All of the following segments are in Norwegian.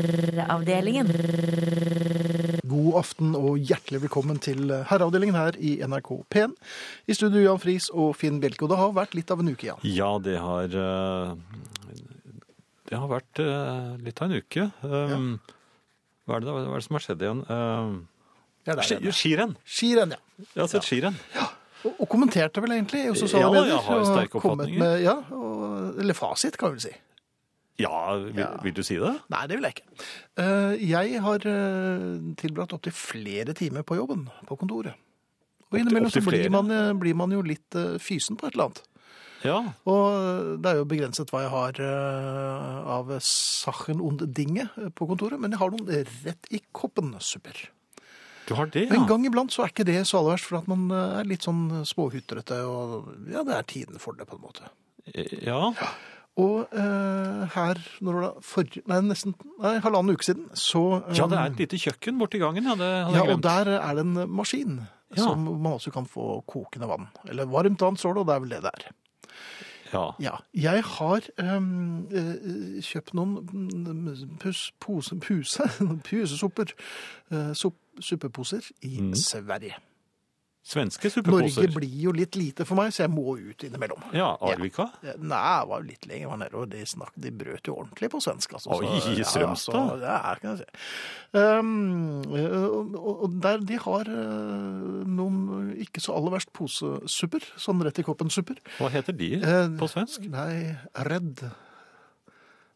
Herreavdelingen. God aften og hjertelig velkommen til eh, Herreavdelingen her i NRK P1. I studio Jan Friis og Finn Bjelke. Og det har vært litt av en uke, Jan. Ja, det har eh, Det har vært eh, litt av en uke. Um, Hva er det, da? Hva er det som har skjedd igjen? Um, Jeg er der ski- igjen, ja. Skirenn! Skirenn, ja. Jeg har sett skirenn. Og, og kommenterte vel egentlig i sosiale Ja, jeg medier, har og sterke kommet oppfatninger. Med, ja, og, eller fasit, kan vi vel si. Ja, vil, Ja. vil du si det? Nei, det vil jeg ikke. Eh, Jeg har eh, tilbrakt opptil flere timer på jobben, på kontoret. Og innimellom så opptil blir flere? man, eh, blir man jo litt eh, fysen på et eller annet. Ja. Og eh, det er jo begrenset hva jeg har eh, av Sachen und Dinge på kontoret, men jeg har noen rett i koppen-supper. Du har det, Og En ja. gang iblant så er ikke det så aller verst, for at man eh, er litt sånn småhutrete, og ja, det er tiden for det på en måte. Eh, Ja. Og eh, her, når det var for, nei, nesten nei, halvannen uke siden, så eh, ja, det er et lite kjøkken borti gangen, ja. Det hadde Ja, jeg og glemt. der er det en maskin Ja. som man også kan få kokende vann. Eller varmt vann står det, og det er vel det det er. Ja. Ja, jeg har øhm, øh, kjøpt noen mm, pus, pose, puse, pusesopper, øh, sopp, suppeposer i Sverige. Svenske Norge Mm. suppeposer. blir jo litt lite for meg, så jeg må ut innimellom. Eh, Ja, Arvika. Nei, jeg var jo litt lenger nedover. De, snak, de brøt jo ordentlig på svensk. Altså, Oi, i Strømstad? Ja, altså, ja, kan jeg si. Um, og- og, og der de har eh, noen ikke så aller verst posesupper, sånn rett i koppen-supper. Hva heter de Eh, på svensk? Nei, redd.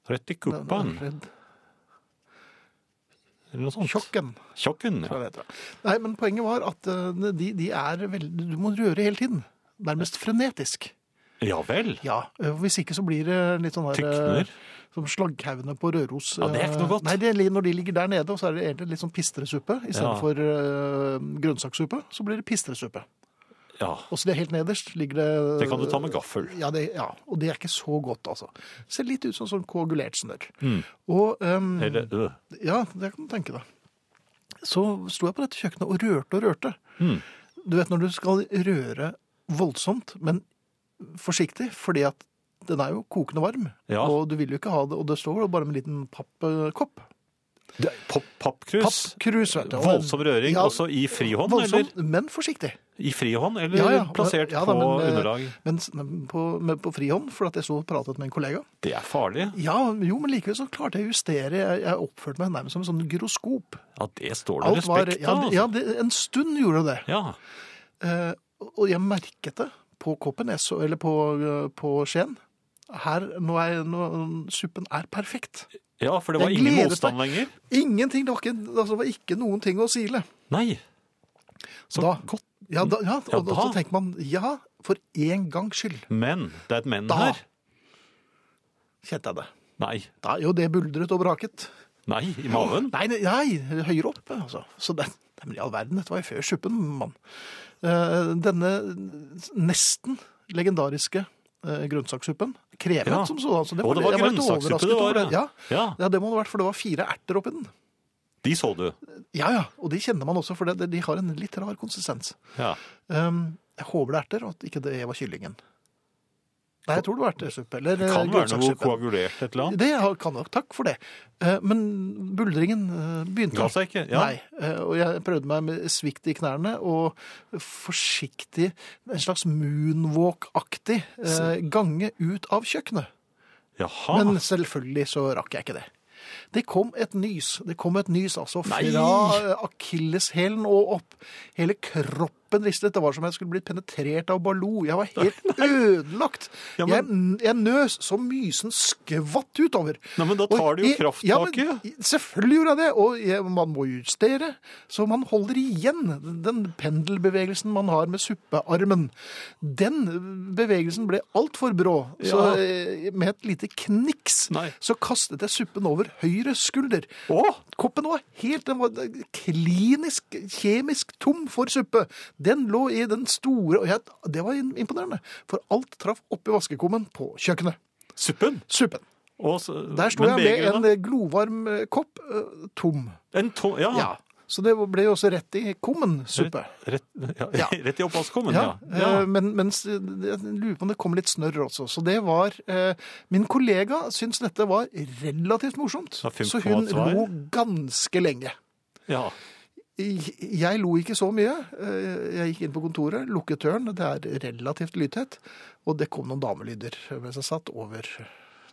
Rett i kuppan, Redd. eller noe sånt. Tjokken. Tjokken, tror ja. jeg det heter. Nei, men poenget var at eh, de, de er veldig Du må røre hele tiden. Nærmest frenetisk. Ja vel. Ja, øh, hvis ikke så blir det litt sånn her Tykner. øh, Som slagghaugene på Røros. Ja, det er ikke noe øh, godt. Nei, det, er li- Når de ligger der nede, og så er det egentlig litt sånn pistresuppe Ja. istedenfor ja. eh, grønnsakssuppe, så blir det pistresuppe. Ja. Og så det helt nederst ligger det Det kan du ta med gaffel. ja, det, ja, og det er ikke så godt, altså. Ser litt ut som sånn koagulert snørr. Mm. Og øhm, Eller øh. ja, det kan du tenke deg. Så sto jeg på dette kjøkkenet og rørte og rørte. Mm. Du vet når du skal røre voldsomt, men forsiktig, fordi at den er jo kokende varm. Ja. Og du vil jo ikke ha det, og det står jo bare med en liten pappkopp. Papp, pappkrus. Pappkrus, vet du. Og- Voldsom røring Ja, også i frihånd, Voldsom, eller? men forsiktig. I frihånd, eller Ja, ja, plassert ja da, på men, eh, underlag? Men s- men på, men på frihånd, for at jeg så og pratet med en kollega. Det er farlig. Ja, jo, men likevel så klarte jeg å justere. Jeg, jeg oppførte meg nærmest som en sånn gyroskop. Ja, det står det Alt var, respekt ja, altså. av. ja, det, en stund gjorde det. Ja. Eh, og jeg merket det på koppen, jeg så, eller på, eh, på skjeen. Her, nå er, nå, suppen er perfekt. ja, for det var Jeg ingen gledet motstand lenger. Ingenting, det var ikke, altså, det var ikke noen ting å sile. Nei. Så Da- godt. Ja, da, ja, Ja, og, og da. så tenker man, ja, for en gangs skyld, Men det er et men Da. her. kjente jeg det. Nei. Da, jo, det buldret og braket. Nei i maven. Nei, nei, nei høyere opp, altså. Så det, nei, men i all verden, dette var jo før suppen, mann. Eh, denne nesten legendariske eh, grønnsakssuppen, krevet Ja. som sådan. så altså, Og det var jeg litt grønnsakssuppe overrasket det var, over det. ja. Ja, Ja, det må det ha vært, for det var fire erter oppi den. de så du. Ja, ja, og de kjenner man også, for det, de har en litt rar konsistens. Ja. Um, jeg håper det er erter, og at ikke det var kyllingen. Nei, jeg tror det var ertesuppe, eller Det eh, kan være noe grønnsakssuppe. koagulert et eller annet. Det har- kan nok, takk for det. Eh, Men buldringen eh, begynte. Ga seg ikke, ja. Nei, eh, og jeg prøvde meg med svikt i knærne, og forsiktig, en slags moonwalk-aktig eh, gange ut av kjøkkenet. Jaha. Men selvfølgelig så rakk jeg ikke det. Det kom et nys. Det kom et nys altså fra Nei! eh, akilleshælen og opp. Hele kroppen ristet. Det var som om jeg skulle blitt penetrert av Baloo. Jeg var helt ødelagt. Ja, jeg, jeg nøs så mysen skvatt utover. Nei, men da Og tar det jo jeg- ja, men krafttaket. Selvfølgelig gjorde jeg det. Og jeg, man må justere, så man holder igjen. Den pendelbevegelsen man har med suppearmen, den bevegelsen ble altfor brå. Ja. Så eh, med et lite kniks Nei. så kastet jeg suppen over høyre skulder. Å! Koppen var helt den var klinisk, kjemisk tom for suppe. Den lå i den store og jeg, Det var imponerende, for alt traff oppi vaskekummen på kjøkkenet. Suppen. Suppen. Og så, Der sto jeg men med begeret da? en glovarm eh, kopp, eh, tom. En to... Ja. Ja. Så det ble jo også rett i kummen suppe. Ah. Rett, ja, Ja. rett i oppvaskkummen, ja. Ja, ja. eh, Men, mens jeg lurer på om det kom litt snørr også. Så det var eh, Min kollega syntes dette var relativt morsomt, Ja, fem så hun komma tvær. lo ganske lenge. ja. Jeg jeg lo ikke så mye. Eh, Jeg gikk inn på kontoret, lukket døren. Det er relativt lydtett. Og det kom noen damelyder mens jeg satt over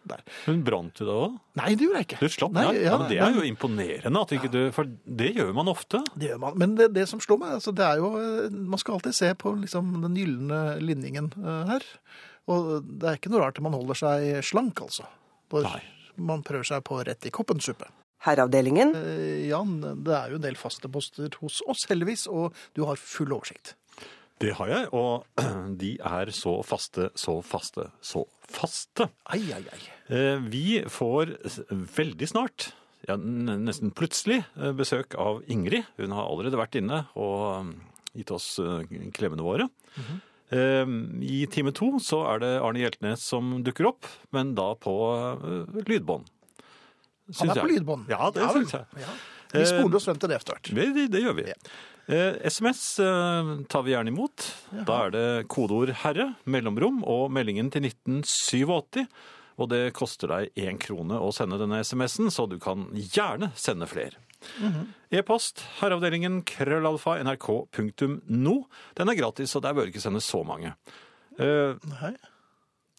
der. Hun brant du da òg? Nei, det gjorde jeg ikke. Du slapp Nei, ned? Ja, ja, men det nei. er jo imponerende, at ikke du, for det gjør man ofte. Det gjør man. Men det, det som slår meg, altså, det er jo eh, Man skal alltid se på liksom, den gylne linningen eh, her. Og det er ikke noe rart at man holder seg slank, altså. Når Nei. man prøver seg på rett i koppen-suppe. Herreavdelingen. Eh, Jan, det er jo en del faste poster hos oss, heldigvis, og du har full oversikt. Det har jeg, og de er så faste, så faste, så faste. Ai, ai, ai. Eh, Vi får s- veldig snart, ja, n- nesten plutselig, eh, besøk av Ingrid. Hun har allerede vært inne og um, gitt oss eh, klemmene våre. Eh, I time to så er det Arne Hjeltnes som dukker opp, men da på eh, lydbånd. Han Syns er på jeg. lydbånd. Ja, det vel. syns jeg. Eh, Ja. Vi spoler oss frem til det etter hvert. Det, det, det gjør vi. Eh, SMS eh, tar vi gjerne imot. Da er det kodeord 'herre', mellomrom og meldingen til 1987. Og det koster deg én krone å sende denne SMS-en, så du kan gjerne sende flere. Mhm. E-post herreavdelingen krøllalfa nrk.no. Den er gratis, og der bør du ikke sende så mange. Eh, Nei.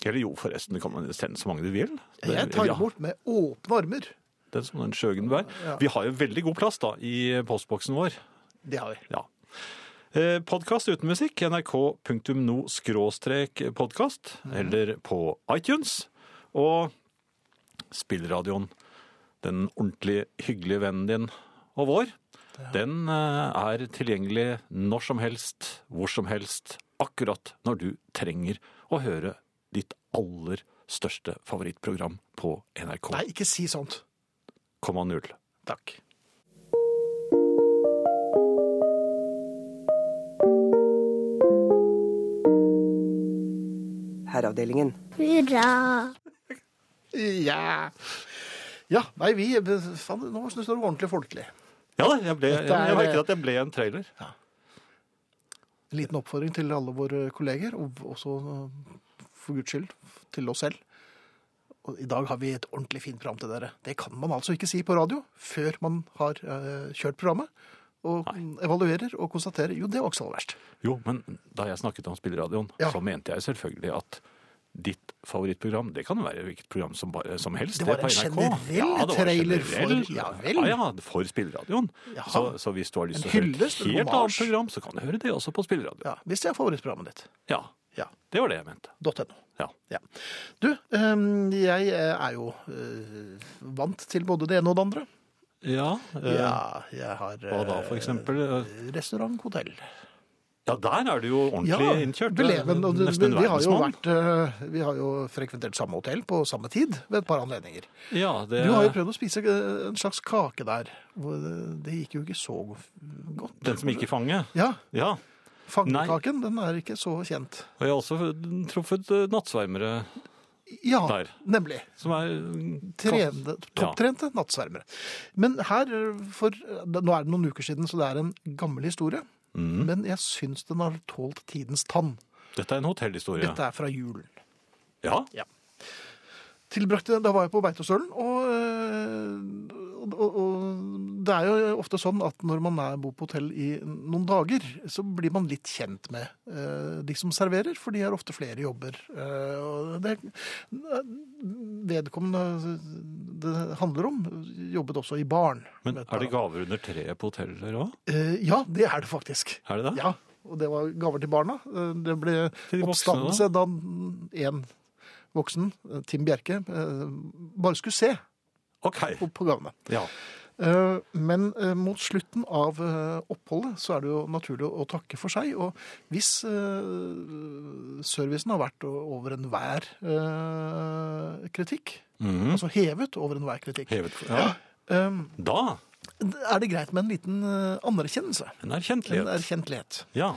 eller jo, forresten, du kan sende så mange du vil. Det- Jeg tar ja. imot med åpne armer. Den som den Sjøgenberg. Vi har jo veldig god plass da i postboksen vår. Det har vi. Ja. Eh, Podkast uten musikk, nrk.no-podkast, Mhm. eller på iTunes. Og spillradioen, den ordentlig hyggelige vennen din og vår, den eh, er tilgjengelig når som helst, hvor som helst, akkurat når du trenger å høre ditt aller største favorittprogram på NRK. Nei, ikke si sånt. Komma null. Takk. Herreavdelingen. Hurra! Ja. ja. Nei, vi faen, Nå syns jeg det var ordentlig folkelig. Ja da, jeg, ble, jeg, Dette er- jeg merket at jeg ble en trailer. En liten oppfordring til alle våre kolleger, og også eh, for guds skyld til oss selv. Og I dag har vi et ordentlig fint program til dere. Det kan man altså ikke si på radio før man har eh, kjørt programmet. Og evaluerer og konstaterer jo, det var ikke så aller verst. Jo, men da jeg snakket om spilleradioen, Ja. så mente jeg selvfølgelig at ditt favorittprogram, det kan jo være hvilket program som, bare, som helst. Det var er på en NRK. generell trailer for- ja vel. Ja, ja, for spilleradioen. Jaha. Så, så hvis du har lyst En til å høre hyllest, et en helt annet hommage. program, så kan du høre det også på spilleradioen. Ja, Hvis det er favorittprogrammet ditt. Ja. Ja. det var det jeg mente. .no. Ja. Ja. Du, eh, jeg er jo eh, vant til både det ene og det andre. Ja, eh, Ja, jeg har Hva da, for eksempel? Eh, Restaurant, hotell. Ja, der er du jo ordentlig innkjørt. Det er beleven, og du, vi, Nesten en vi, har jo verdensmann. vært, eh, vi har jo frekventert samme hotell på samme tid ved et par anledninger. Ja, det, Du har jo prøvd å spise eh, en slags kake der. hvor Det det gikk jo ikke så godt. den som gikk i fanget. Ja, Ja, fangekaken, den er ikke så kjent. og jeg har også truffet eh, nattsvermere Ja, Der. nemlig. som er Trende, Ja. topptrente nattsvermere. Men her, eh, for nå er det noen uker siden, så det er en gammel historie. Mm. Men jeg syns den har tålt tidens tann. Dette er en hotellhistorie. Dette er fra julen. Ja, tilbrakte, da var jeg på Beitostølen, og, øh, og, og, og det er jo ofte sånn at når man er, bor på hotell i noen dager, så blir man litt kjent med øh, de som serverer, for de har ofte flere jobber. øh, og det, vedkommende det handler om, jobbet også i barn. Men er det gaver under treet på hoteller òg? Eh, ja, det er det faktisk. Er det det? Ja, og det var gaver til barna. Eh, Det ble Til de voksne, oppstandelse da en voksen, eh, Tim Bjerke, eh, bare skulle se OK. på, på gavene. Ja. Eh, Men eh, mot slutten av eh, oppholdet så er det jo naturlig å å takke for seg. Og hvis eh, servicen har vært o- over enhver eh, kritikk, Mhm. altså hevet over enhver kritikk, Hevet for ja. eh, Da er det greit med en liten eh, anerkjennelse. en En erkjentlighet. erkjentlighet. Ja.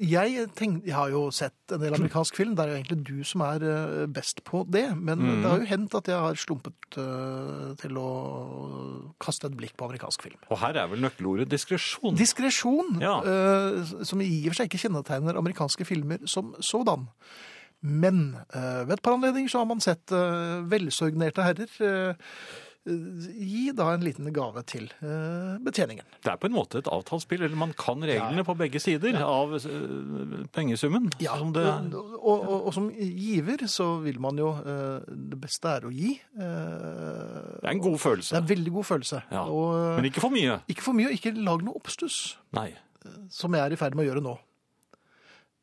jeg, tenk- jeg har jo sett en del amerikansk film. Det er jo egentlig du som er eh, best på det. Men det har jo hendt at jeg har slumpet eh, til å kaste et blikk på amerikansk film. Og her er vel nøkkelordet diskresjon. Diskresjon, Ja. eh, som i og for seg ikke kjennetegner amerikanske filmer som sådan. Men eh, ved et par anledninger så har man sett eh, velsorgnerte herrer eh, eh, gi da en liten gave til eh, betjeningen. Det er på en måte et avtalespill, eller man kan reglene på begge sider av eh, pengesummen. som det, og, og, og, og som giver så vil man jo eh, Det beste er å gi. eh, det er en god det er følelse. en veldig god følelse. Ja. Og, eh, Men ikke for mye. ikke for mye, og ikke lag noe oppstuss. Nei. som jeg er i ferd med å gjøre nå.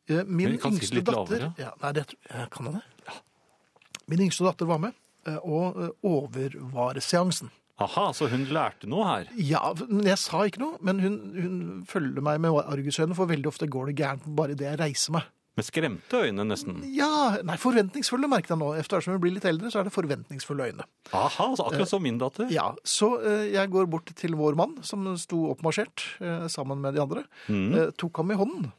Eh, Men Min vi kan sitte yngste litt datter lavere. ja, Nei, det tror jeg kan jeg det. Min yngste datter var med eh, og eh, overvar seansen. Aha, så hun lærte noe her. Ja, men jeg sa ikke noe, men hun, hun følger meg med argusøyne, for veldig ofte går det gærent bare det jeg reiser meg. Med skremte øyne, nesten. Ja, nei, forventningsfulle merket jeg nå. Etter som hun blir litt eldre, så er det forventningsfulle øyne. Aha, så akkurat som min datter. Ja, Så eh, jeg går bort til vår mann, som sto oppmarsjert eh, sammen med de andre. Mm. Eh, tok ham i hånden. Mhm.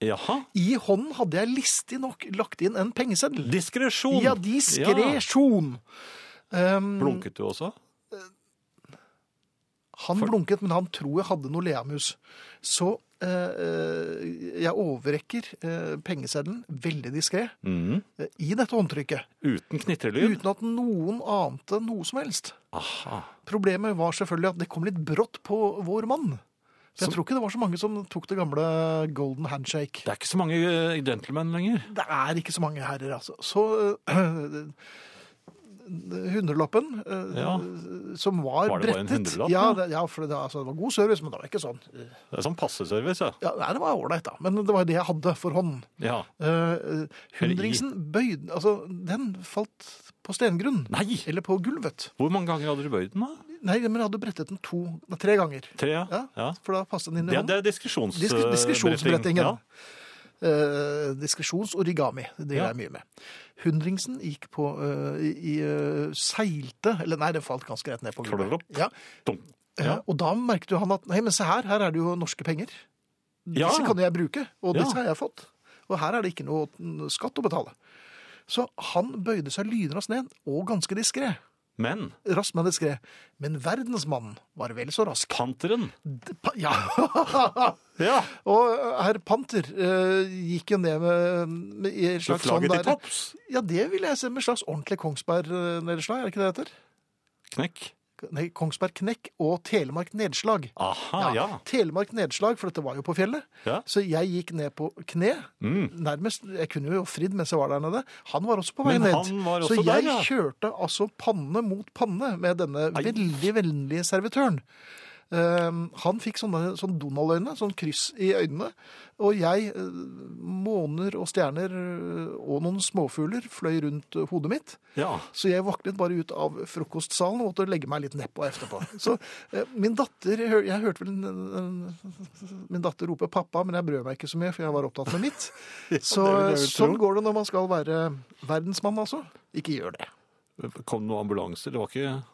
Jaha. I hånden hadde jeg listig nok lagt inn en pengeseddel. Diskresjon. Ja, diskresjon. Um, Blunket du også? han blunket, men han tror jeg hadde noe leamus. Så eh, eh, jeg overrekker eh, pengeseddelen veldig diskré Mhm. eh, i dette håndtrykket, Uten knitrelyd? uten at noen ante noe som helst. Aha. Problemet var selvfølgelig at det kom litt brått på vår mann. For jeg tror ikke det var så mange som tok det gamle golden handshake. Det er ikke så mange eh, gentlemen lenger. Det er ikke så mange herrer, altså. Så øh, Hundrelappen, øh, Ja. som var, Var det bare en brettet hundrelapp, ja, da? det, ja, for det, altså, det var god service, men det var ikke sånn. Det er sånn passeservice, ja. Ja, nei, det var ålreit, da. Men det var det jeg hadde for hånden. ja. Uh, hundringsen bøyd Altså, den falt på stengrunn. Nei! Eller på gulvet. Hvor mange ganger hadde du bøyd den, da? Nei, men jeg hadde brettet den to, tre ganger. Tre? Ja. Ja, ja. For da passet den inn i Det, hånden. det er diskresjons... Disk diskresjonsbrettingen. Ja. Eh, diskresjonsorigami, det gjør Ja. jeg mye med. Hundringsen gikk på eh, i, i, eh, seilte Eller nei, det falt ganske rett ned på Klolopp. Ja. Dum. Eh, Ja. og da merket jo han at Nei, men se her, her er det jo norske penger. Ja. Disse kan jeg bruke, og Ja. disse har jeg fått. Og her er det ikke noe mm, skatt å betale. Så han bøyde seg lynraskt ned, og ganske diskré. Men Raskt, men diskré. Men verdensmannen var vel så rask. panteren D- pa- Ja! Ja. Og herr Panter eh, gikk jo ned med, med i en Med slags sånn flagget til der, topps. Ja, det vil jeg se med en slags ordentlig Kongsberg-nedslag, er det ikke det det heter? Knekk. Nei, Kongsberg-knekk og Telemark-nedslag. Aha, Ah, ja. Telemark-nedslag, for dette var jo på fjellet. Ja. Så jeg gikk ned på kne, Mm. nærmest. Jeg kunne jo fridd mens jeg var der nede. Han var også på vei Men ned. han var så også der, jeg ja. kjørte altså panne mot panne med denne Ai. veldig vennlige servitøren. Ehm, han fikk sånne, sånn Donald-øyne, sånn kryss i øynene. Og jeg, eh, måner og stjerner eh, og noen småfugler fløy rundt eh, hodet mitt. ja. Så jeg våknet bare ut av frokostsalen og måtte legge meg litt nedpå etterpå. Så eh, min datter Jeg, hør, jeg hørte vel en- en- min datter rope 'pappa', men jeg brød meg ikke så mye, for jeg var opptatt med mitt. Så det vil jeg vel sånn tro. går det når man skal være verdensmann, altså. Ikke gjør det. Kom det noen ambulanser? Det var ikke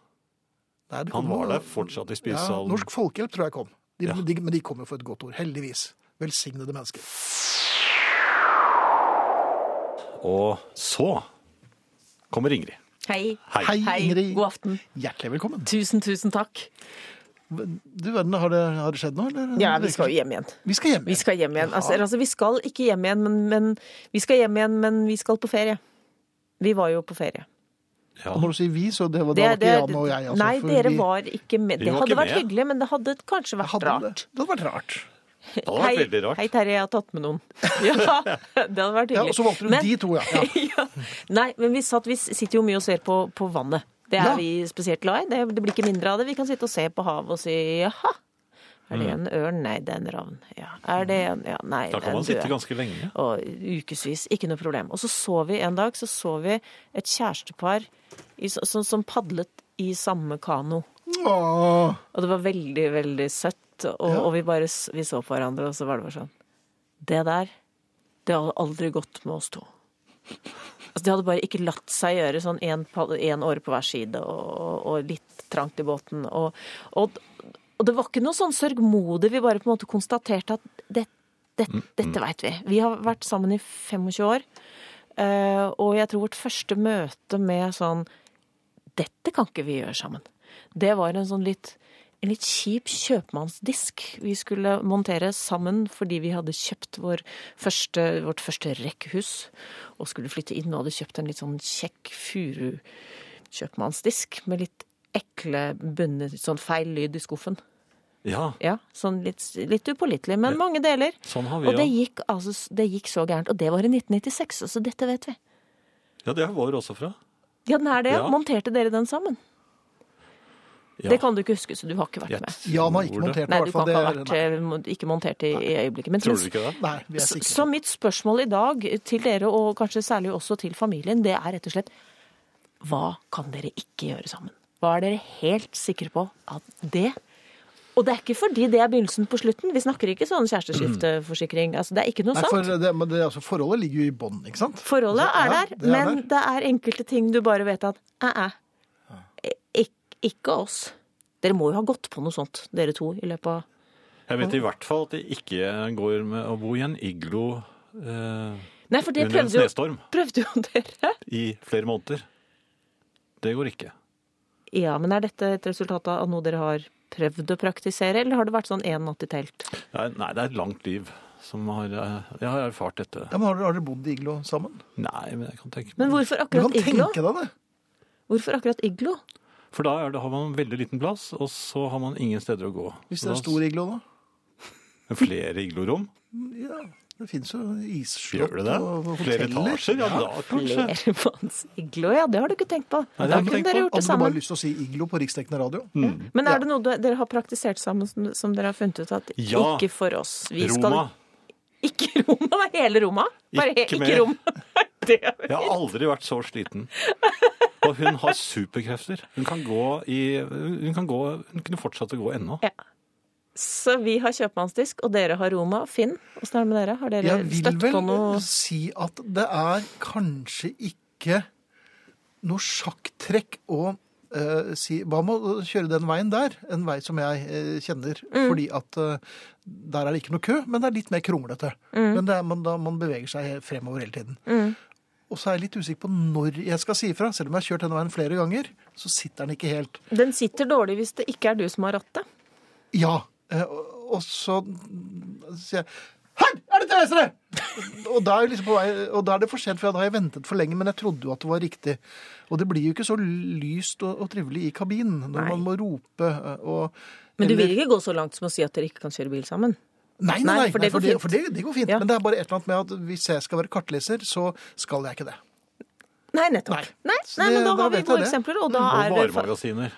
Nei, det Han kom var noe- der fortsatt i Ja, spisesalen. Norsk Folkehjelp tror jeg kom. De, Ja. de, men de kom jo for et godt ord. Heldigvis. Velsignede mennesker. Og så kommer Ingrid. Hei. Hei. Hei, Ingrid. God aften. Hjertelig velkommen. Tusen, tusen takk. Du verden, har det, har det skjedd noe, eller? Ja, vi skal jo hjem igjen. Vi skal hjem. Vi skal hjem igjen. Altså, eller, altså, vi skal ikke hjem igjen, men, men vi skal hjem igjen, men vi skal på ferie. Vi var jo på ferie. Ja. Og når du sier vi, så det var da var ikke Jan og jeg. Altså, nei, for dere vi- var ikke med. Vi Det var hadde ikke vært med. hyggelig, men det hadde kanskje vært hadde rart. det. Det hadde vært rart. Det hadde vært veldig rart. Hei, Terje, jeg har tatt med noen. Ja, det hadde vært Ja, hyggelig. og så valgte du Men- de to, ja. ja. ja. Nei, men vi, satt, vi sitter jo mye og ser på, på vannet. Det er Ja. vi spesielt glad i. Det, det blir ikke mindre av det. Vi kan sitte og se på havet og si jaha. Er det en ørn? Nei, det er en ravn. Ja. Er det en Ja, nei, Mm. Da det er kan man en død. sitte ganske lenge. Og ukevis. Ikke noe problem. Og så så vi en dag så så vi et kjærestepar i, så- som, som padlet i samme kano. Åh, Og det var veldig, veldig søtt. Og, og vi bare s- vi så på hverandre, og så var det bare sånn Det der, det hadde aldri gått med oss to. Altså, det hadde bare ikke latt seg gjøre sånn én åre på hver side og, og litt trangt i båten. Og, og, og det var ikke noe sånn sørgmodig. Vi bare på en måte konstaterte at det, Det, dette veit vi. Vi har vært sammen i 25 år. eh, Og jeg tror vårt første møte med sånn Dette kan ikke vi gjøre sammen. Det var en sånn litt en litt kjip kjøpmannsdisk vi skulle montere sammen fordi vi hadde kjøpt vår første, vårt første rekkehus og skulle flytte inn og hadde kjøpt en litt sånn kjekk furukjøpmannsdisk med litt ekle bunner, sånn feil lyd i skuffen. Ja, Ja, sånn litt, litt upålitelig, men mange deler. sånn har vi Og det ja. gikk, altså, det gikk så gærent. Og det var i 1996, så dette vet vi. Ja, det er vår også fra. Ja, den er det. Ja. Monterte dere den sammen? Ja. Det kan du ikke huske, så du har ikke vært Jeg med. Jan har ikke tror det. montert Nei, i du hvert kan fall. ikke ha Det vært er- eh, mon- ikke montert i, i øyeblikket. Men, Tror du ikke det? Nei, vi er så, sikre. så mitt spørsmål i dag eh, til dere, og kanskje særlig også til familien, det er rett og slett Hva kan dere ikke gjøre sammen? Hva er dere helt sikre på at det Og det er ikke fordi det er begynnelsen på slutten. Vi snakker ikke sånn kjæresteskifteforsikring. Altså, det er ikke noe Nei, sånt. for det, men det, altså, forholdet ligger jo i bånn, ikke sant? Forholdet er Ja, der, det er men det er enkelte ting du bare vet at æ-æ. Ik ikke oss. Dere må jo ha gått på noe sånt, dere to, i løpet av Jeg vet i hvert fall at det ikke går med å bo i en iglo eh, Nei, for det under en prøvde jo, snestorm prøvde jo dere. i flere måneder. Det går ikke. Ja, men er dette et resultat av noe dere har prøvd å praktisere, eller har det vært sånn én natt i telt? Nei, nei, det er et langt liv som har eh, Jeg har erfart dette. Ja, men har dere, har dere bodd i iglo sammen? Nei, men jeg kan tenke Men meg hvorfor Du akkurat kan iglo? tenke deg det. Hvorfor akkurat iglo? For da er det, har man veldig liten plass, og så har man ingen steder å gå. Hvis det Da- er stor iglo, da. Flere iglorom? Ja, det finnes jo isslott Gjør det det? og Flere hoteller. etasjer? Ja, da kanskje. Flermannsiglo, ja, det har du ikke tenkt på. Nei, det da har jeg ikke kunne tenkt på. dere gjort Hadde det du bare sammen. lyst til å si iglo på riksdekkende radio? Men er det noe du- dere har praktisert sammen som, som dere har funnet ut at Ja. ikke for oss? Vi skal Roma. Ikke Roma, det er hele Roma. Bare he Ikke ikke, mer. Roma. Det er Jeg har aldri vært så sliten. Og hun har superkrefter. Hun kan gå i Hun, kan gå, hun kunne fortsatt å gå ennå. Ja. Så vi har kjøpmannsdisk, og dere har Roma. Finn, åssen er det med dere? Har dere Jeg vil støtt på noe vel si at det er kanskje ikke noe sjakktrekk å eh, si Hva med å kjøre den veien der? En vei som jeg eh, kjenner. Mm. Fordi at eh, der er det ikke noe kø, men det er litt mer kronglete. Mm. Men det er, man, da, man beveger seg fremover hele tiden. Og så er jeg litt usikker på når jeg skal si ifra. Selv om jeg har kjørt denne veien flere ganger, så sitter den ikke helt. Den sitter dårlig hvis det ikke er du som har rattet. Ja. eh, Og, og så sier jeg Her er det til venstre! og, da er jeg liksom på vei, og da er det for sent, for da har jeg ventet for lenge. Men jeg trodde jo at det var riktig. Og det blir jo ikke så lyst og, og trivelig i kabinen når Nei. man må rope eh, og Men du eller- vil ikke gå så langt som å si at dere ikke kan kjøre bil sammen? Nei, nei, nei, Nei, for det går for, det, fint. for det, det går fint. Ja. Men det er bare et eller annet med at hvis jeg skal være kartleser, så skal jeg ikke det. Nei, nettopp. Nei. Nei, nei, Så det- men da da har vi vet jeg gode det. Mm. eksempler, og da Og er det varemagasiner.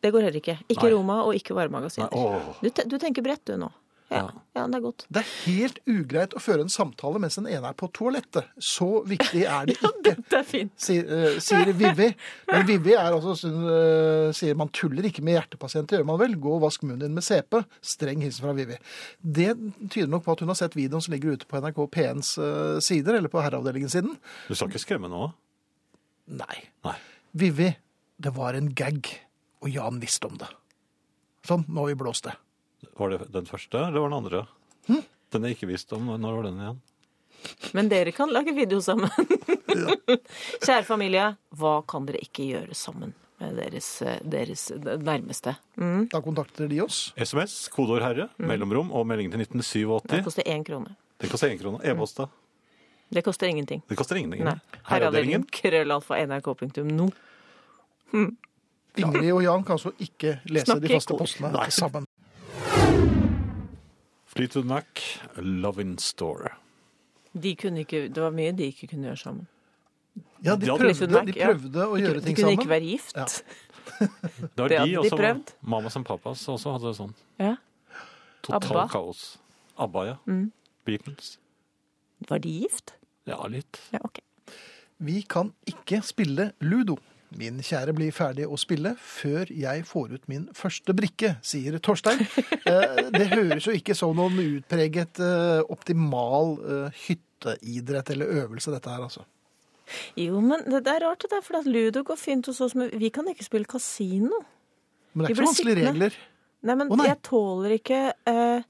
Det går heller ikke. Ikke Nei. Roma og ikke Nei, varemagasiner. åh. Du, te- du tenker bredt du nå. Ja. Ja. ja, det er godt. Det er helt ugreit å føre en samtale mens den ene er på toalettet. Så viktig er det ikke. Det er fint. sier, eh, sier Vivi. Men Vivi er altså, sånn, eh, sier man tuller ikke med hjertepasienter, gjør man vel? Gå og vask munnen din med CP. Streng hilsen fra Vivi. Det tyder nok på at hun har sett videoen som ligger ute på NRK P1s eh, sider, eller på herreavdelingens siden. Du skal ikke skremme nå? Nei. Nei. Vivi, det var en gag, og Jan visste om det. Sånn, nå har vi blåst det. Var det den første, eller var det den andre? Hm? Den jeg ikke visste om. Når var den igjen? Men dere kan lage video sammen. Kjære familie, hva kan dere ikke gjøre sammen med deres, deres nærmeste? Mm, Da kontakter de oss. SMS, kodeord herre, mellomrom og meldingen til det 1987. koster én krone. Det koster én krone. E-post, da? Det koster ingenting. Det koster Mm. ingenting. Nei. Herreavdelingen? Herreavdelingen krøllalfa nrk.no. Ingrid og Jan kan altså ikke lese Snakker de faste kor. postene sammen. Fleetwood Mac, Love in Store. De kunne ikke, det var mye de ikke kunne gjøre sammen. Ja, de Ja, prøvde, Fleetwood Mac, de ja. prøvde å De gjøre kunne- ting de kunne ikke sammen. være gift. Ja. Det var Det de, hadde de og prøvd. så mammas og pappas også hadde det sånn. Ja. Total Abba. Mm. kaos. Abba, ja. Beatles. Var de gift? Ja, litt. Ja, ok. Vi kan ikke spille ludo. Min kjære blir ferdig å spille før jeg får ut min første brikke, sier Torstein. Eh, Det høres jo ikke som noen utpreget eh, optimal eh, hytteidrett eller øvelse, dette her, altså. Jo, men det, det er rart det der, for at ludo går fint hos oss, men vi kan ikke spille kasino. Men det er Vi ikke ble så vanskelige sittende. regler. Nei, men Å, nei. jeg tåler ikke eh,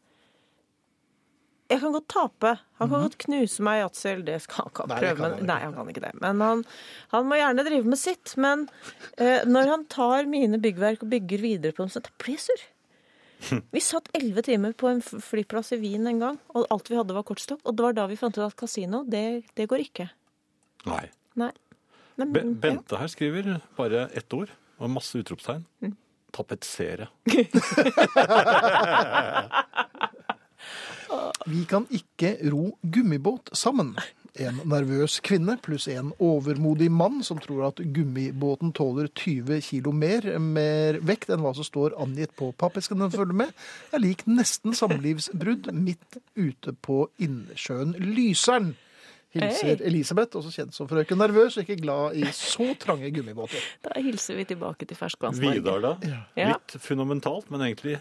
Jeg kan godt tape. Han kan godt knuse meg i yatzy, eller det skal han kan Mhm. Nei, det kan prøve. han men, ikke. nei, han kan ikke det. Men han, han må gjerne drive med sitt. Men eh, når han tar mine byggverk og bygger videre på dem, så da blir jeg sur. Vi satt elleve timer på en f- flyplass i Wien en gang, og alt vi hadde var kortstokk. Og det var da vi fant ut at kasino, det, det går ikke. Nei. Nei. Nei, Be men- Mm, ja. Bente her skriver bare ett ord og masse utropstegn. Mm. Tapetsere. Vi kan ikke ro gummibåt sammen. En nervøs kvinne pluss en overmodig mann som tror at gummibåten tåler 20 kilo mer, mer vekt enn hva som står angitt på pappesken den følger med, er lik nesten samlivsbrudd midt ute på innsjøen Lyseren. Hilser Hei. Elisabeth, også kjent som frøken Nervøs, og ikke glad i så trange gummibåter. Da hilser vi tilbake til ferskvannsmarkedet. Vidar, da. Ja. Litt fundamentalt, men egentlig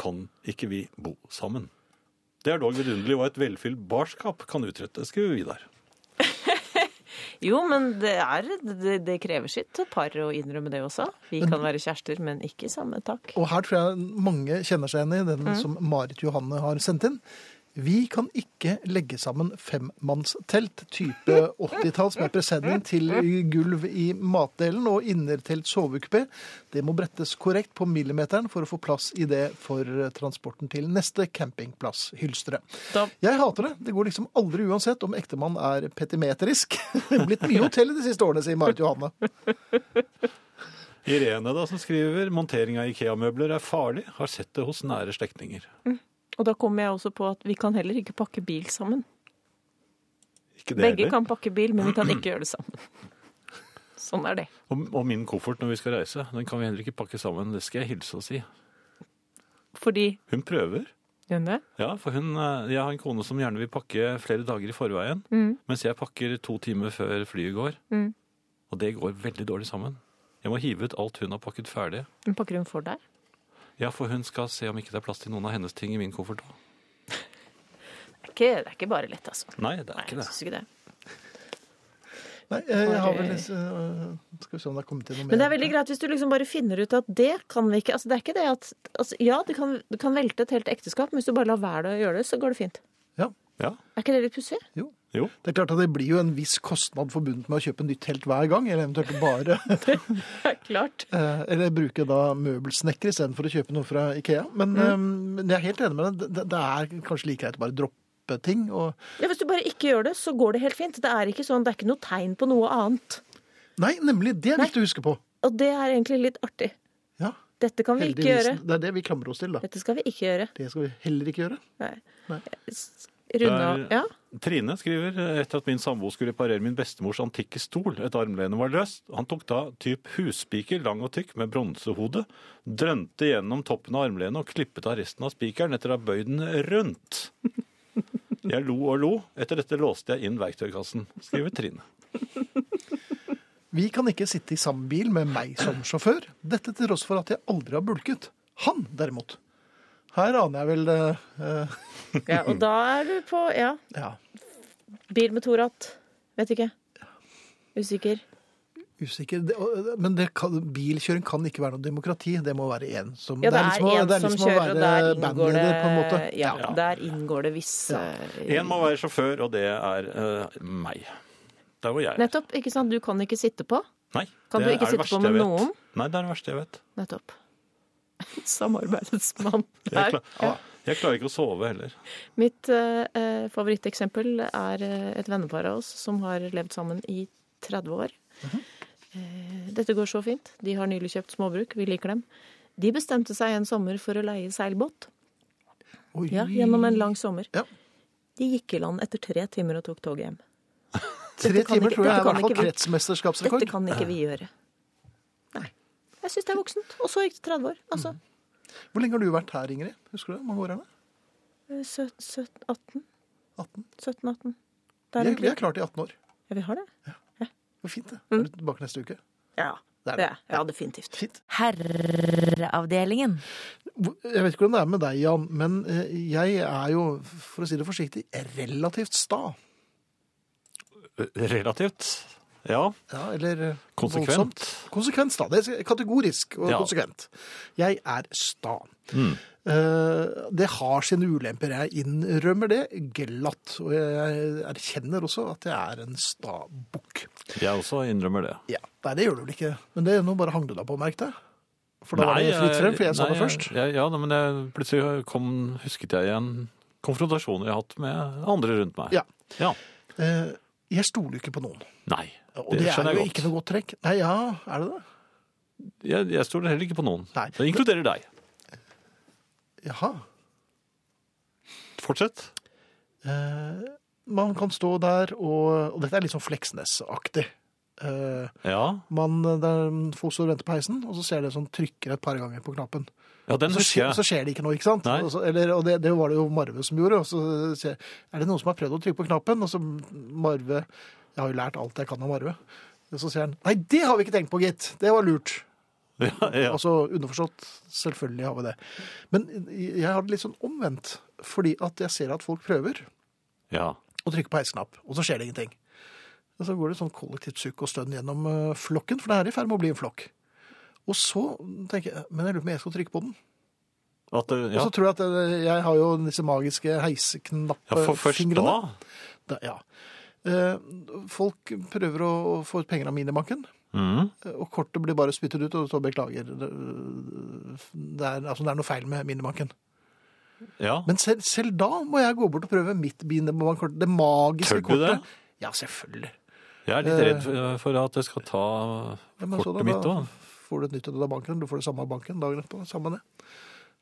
kan ikke vi bo sammen. Det er dog vidunderlig hva et velfylt barskap kan utrette, skriver Vidar. Jo, men det, er, det, det krever sitt par å innrømme det også. Vi kan være kjærester, men ikke i samme takk. Og her tror jeg mange kjenner seg igjen i Mm. den som Marit Johanne har sendt inn. Vi kan ikke legge sammen femmannstelt type 80-talls med presenning til gulv i matdelen og innertelt sovekupé. Det må brettes korrekt på millimeteren for å få plass i det for transporten til neste campingplass, Hylstre. Da, Jeg hater det. Det går liksom aldri uansett om ektemann er petimetrisk. Det er blitt mye hotell i de siste årene, sier Marit Johanne. Irene, da, som skriver montering av Ikea-møbler er farlig, har sett det hos nære slektninger. og da kommer jeg også på at vi kan heller ikke pakke bil sammen. Ikke det Begge heller. kan pakke bil, men vi kan ikke gjøre det sammen. Sånn er det. Og, og min koffert når vi skal reise, den kan vi heller ikke pakke sammen. Det skal jeg hilse og si. Fordi Hun prøver. Gjør det? Ja, for hun, eh, jeg har en kone som gjerne vil pakke flere dager i forveien, mens jeg pakker to timer før flyet går. Mm. Og det går veldig dårlig sammen. Jeg må hive ut alt hun har pakket ferdig. Men pakker hun for deg? Ja, for hun skal se om ikke det er plass til noen av hennes ting i min koffert. også. Det er ikke, det er ikke bare lett, altså. Nei, det er Nei, ikke jeg det. synes ikke det. Nei, jeg har vel Bare- øh, Skal vi se om det er kommet inn noe mer. Men det er veldig greit hvis du liksom bare finner ut at det kan vi ikke. Altså, det er ikke det at altså, Ja, det kan, det kan velte et helt ekteskap, men hvis du bare lar være å gjøre det, så går det fint. Ja, Ja, Er ikke det litt pussig? jo. jo. Det er klart at det blir jo en viss kostnad forbundet med å kjøpe nytt telt hver gang, eller eventuelt bare Ja, klart. eh, Eller bruke da møbelsnekker istedenfor å kjøpe noe fra Ikea. Men, Mm. eh, men jeg er helt enig med deg. Det, det er kanskje like greit å bare droppe ting. Og Ja, Hvis du bare ikke gjør det, så går det helt fint. Det er ikke sånn, det er ikke noe tegn på noe annet. Nei, nemlig! Det er Nei. viktig å huske på. Og det er egentlig litt artig. Ja, Dette kan vi ikke gjøre. Det er det vi klamrer oss til, da. Dette skal vi ikke gjøre. Det skal vi heller ikke gjøre. Nei. Nei. S- Runde av. Det er- Ja. Trine skriver etter at min samboer skulle parere min bestemors antikke stol. Et armlene var løst. Han tok da typ husspiker, lang og tykk, med bronsehode, drønte gjennom toppen av armlenet og klippet av resten av spikeren etter å ha bøyd den rundt. Jeg lo og lo. Etter dette låste jeg inn verktøykassen, skriver Trine. Vi kan ikke sitte i samme bil med meg som sjåfør. Dette til tross for at jeg aldri har bulket. Han, derimot. Her aner jeg vel eh, eh, ja. Og da er du på ja. Ja, bil med to ratt. Vet ikke. Usikker. Usikker. Det, og- men det kan, bilkjøring kan ikke være noe demokrati. Det må være én som Ja, det liksom er å- én det er som liksom å kjører, og der være inngår det bandleader, på en måte. Ja, Ja. der inngår det eh, visse Én må være sjåfør, og det er eh, meg. Der hvor jeg er. Nettopp. ikke sant? Du kan ikke sitte på. Nei, Kan det du ikke er det sitte verste på jeg med vet. noen? Nei, det er det verste jeg vet. Nettopp. Samarbeidets mann. Jeg, Der. kla- Ah, jeg klarer ikke å sove heller. Mitt eh, eh, favoritteksempel er eh, et vennepar av oss som har levd sammen i 30 år. Mhm. eh, dette går så fint. De har nylig kjøpt småbruk. Vi liker dem. De bestemte seg en sommer for å leie seilbåt. Oi. Ja, gjennom en lang sommer. Ja. De gikk i land etter tre timer og tok toget hjem. Tre Dette kan timer ikke- tror jeg er dette i kan hvert fall ikke vi- kretsmesterskapsrekord. Dette kan ikke vi gjøre. Nei. Jeg syns det er voksent. Og så gikk det 30 år. Altså Hvor lenge har du vært her, Ingrid? Husker du det? Hvor mange år er det? Mhm. eh, sø- sø- 18? 18? 17-18. Vi Der er, vi er omkring. klart i 18 år. Ja, vi har det. Det var fint, det. Mm. Er du tilbake neste uke? Ja, Det er det det. er. Ja, definitivt. Fint. Herreavdelingen. Hvor- Jeg vet ikke hvordan det er med deg, Jan, men eh, jeg er jo, for å si det forsiktig, relativt sta. Relativt. Ja. Ja, eller eh, Konsekvent. voldsomt. Konsekvent, da. Det er kategorisk og Ja. Mm. konsekvent. Jeg er sta. Eh, Det har sine ulemper. Jeg innrømmer det glatt. Og jeg erkjenner også at jeg er en sta bukk. Jeg også innrømmer det. Ja. Nei, det gjør du vel ikke. Men det, nå bare hang du deg på, merk deg. For da var det fritt frem, for jeg sa nei, det først. Jeg, ja, nei, men jeg, plutselig kom, husket jeg igjen konfrontasjoner jeg har hatt med andre rundt meg. Ja. Eh, Jeg stoler jo ikke på noen. Nei, Og det, det, er skjønner jo jeg ikke godt. noe godt trekk. Nei, ja, er det det? Jeg, jeg stoler heller ikke på noen. Nei. Det inkluderer deg. Jaha. Fortsett. Eh, Man kan stå der, og, og dette er litt sånn Fleksnes-aktig. Eh, Ja, man, der folk står og venter på heisen, og så ser jeg det som trykker et par ganger på knappen. ja den Så, husker skje, så jeg. skjer det ikke noe, ikke sant? Nei. Og, så, eller, og det, det var det jo Marve som gjorde. Og så sier jeg, er det noen som har prøvd å trykke på knappen? Og så Marve, jeg har jo lært alt jeg kan av Marve. Og Så sier han, nei, det har vi ikke tenkt på, gitt. Det var lurt. Ja, ja. Altså underforstått, selvfølgelig har vi det. Men jeg har det litt sånn omvendt, fordi at jeg ser at folk prøver ja. og trykker på heisknapp, og så skjer det ingenting. Og så går det sånn kollektivt sukk og stønn gjennom eh, flokken, for det er i ferd med å bli en flokk. Og så tenker jeg, men jeg lurer på om jeg skal trykke på den. At, det- Og ja. så tror jeg at eh, jeg har jo disse magiske ja, for først heiseknappfingrene. da. Da, ja. Eh, Folk prøver å å få ut penger av minibanken, Mhm. eh, og kortet blir bare spyttet ut, og det står beklager. Det det er, altså, det er noe feil med minibanken. Ja. Men selv, selv da må jeg gå bort og prøve mitt minibankkort. Det magiske Tør du kortet. det? Ja, selvfølgelig. Jeg er litt redd for- for at jeg skal ta eh, Ja, men så da, kortet mitt da òg. Får du et nytt ut av banken, du får det samme av banken dagen etterpå. Samme det.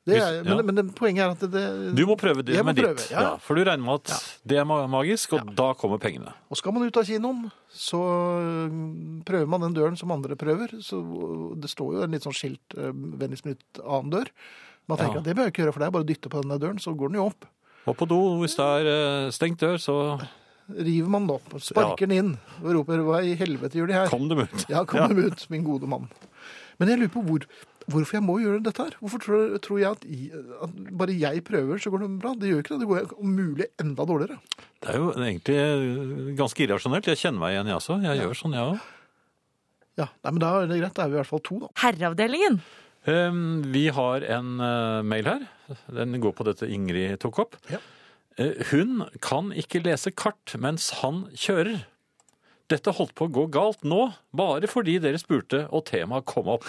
det er, Hvis- men, ja. men det- poenget er at det, det Du må prøve det Jeg må med ditt. prøve, ja. ja. for du regner med at det er ma- magisk, og da kommer pengene. Og skal man ut av kinoen, så øhm, prøver man den døren som andre prøver. Så øh, det står jo en litt sånn skilt øh, 'vennligst minutt annen dør'. Man tenker Ja. at det behøver jeg ikke gjøre, for det er bare å dytte på denne døren, så går den jo opp. Og på do, hvis det er eh, stengt dør, så River man den opp, sparker den inn og roper 'hva i helvete gjør de her'? kom dem ut. Ja, kom dem ut, min gode mann. Men jeg lurer på hvor, hvorfor jeg må gjøre dette her. Hvorfor tror, tror jeg at, i- at bare jeg prøver, så går det bra? Det gjør jo ikke det. Det går om mulig enda dårligere. Det er jo egentlig eh, ganske irrasjonelt. Jeg kjenner meg igjen, jeg også. Jeg gjør sånn, jeg òg. Ja, nei, men Da er det greit. Da er vi i hvert fall to, da. Herreavdelingen. Em, Ehm, Vi har en eh, mail her. Den går på dette Ingrid tok opp. Ja. Eh, Hun kan ikke lese kart mens han kjører. Dette holdt på å gå galt nå, bare fordi dere spurte og temaet kom opp.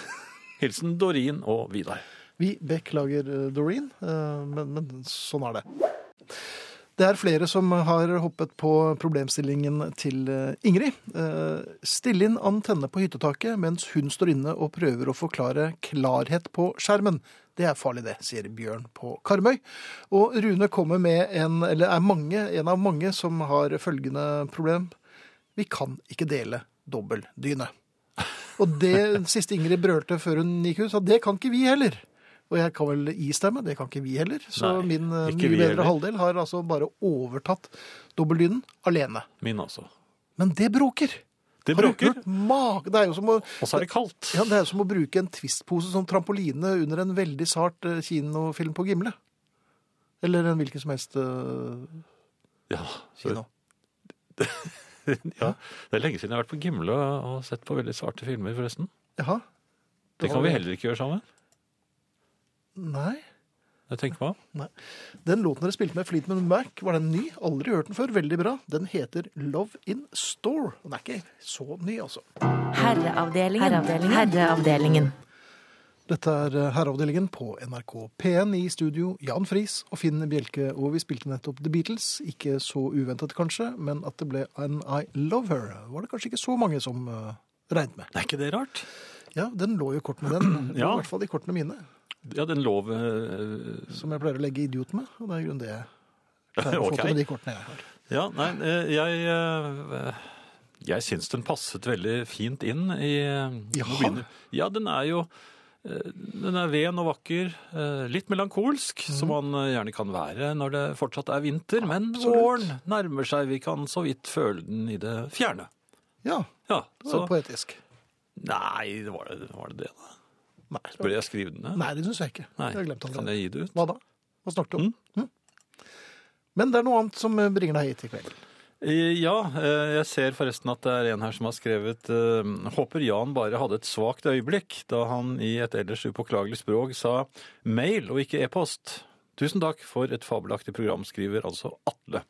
Hilsen Dorin og Vidar. Vi beklager eh, Doreen, eh, men, men sånn er det. Det er flere som har hoppet på problemstillingen til eh, Ingrid. Eh, Still inn antenne på hyttetaket mens hun står inne og prøver å forklare klarhet på skjermen. Det er farlig det, sier Bjørn på Karmøy. Og Rune kommer med en, eller er mange, en av mange som har følgende problem. Vi kan ikke dele dobbeldyne. Og det siste Ingrid brølte før hun gikk ut, sa det kan ikke vi heller. Og jeg kan vel istemme, det kan ikke vi heller. Så Nei, min eh, ikke mye vi bedre heller. halvdel har altså bare overtatt dobbeldynen alene. Min også. Men det bråker. Det Har du bråker, hørt ma- Det er jo som å, og så er det kaldt. ja, det er jo som å bruke en twistpose som trampoline under en veldig sart eh, kinofilm på Gimle. Eller en hvilken som helst eh, Ja, så, kino. ja. Det er lenge siden jeg har vært på Gimle og sett på veldig sarte filmer, forresten. Jaha? Det har kan vi vi. heller ikke gjøre sammen. Nei. Jeg tenker meg om. Den låten dere spilte med Fleetman Mac, var den ny? Aldri hørt den før. Veldig bra. Den heter Love in Store. Den er ikke så ny, altså. Herreavdelingen. Herreavdelingen. Dette er eh, Herreavdelingen på NRK P1 i studio. Jan Friis og Finn Bjelke. Og vi spilte nettopp The Beatles. Ikke så uventet, kanskje, men at det ble And I Love Her, var det kanskje ikke så mange som eh, regnet med. Er ikke det rart? Ja, den lå jo i kortene, den. Ja. I hvert fall i kortene mine, Ja, den lov eh, som jeg pleier å legge idiot med. Og det er i grunnen det jeg pleier å få Ok. til med de kortene jeg har. Ja, nei, eh, jeg eh, Jeg syns den passet veldig fint inn i eh, Ja. mobilen. Ja, den er jo eh, den er ven og vakker, eh, litt melankolsk, som man eh, gjerne kan være når det fortsatt er vinter. Men Absolutt. våren nærmer seg, vi kan så vidt føle den i det fjerne. Ja, Ja, det så var poetisk. Nei, det var det var det, det da? Nei, Bør jeg skrive den ned? Nei, det syns jeg ikke. Nei. Det har jeg glemt Kan allerede. jeg Mm? gi det ut? Mm? Hva da? Hva snakket du om? Hm? Men det er noe annet som bringer eh, deg hit i kveld. Eh, Ja, eh, jeg ser forresten at det er en her som har skrevet eh, Håper Jan bare hadde et svakt øyeblikk da han i et ellers upåklagelig språk sa mail og ikke e-post. Tusen takk for et fabelaktig program, skriver altså Atle.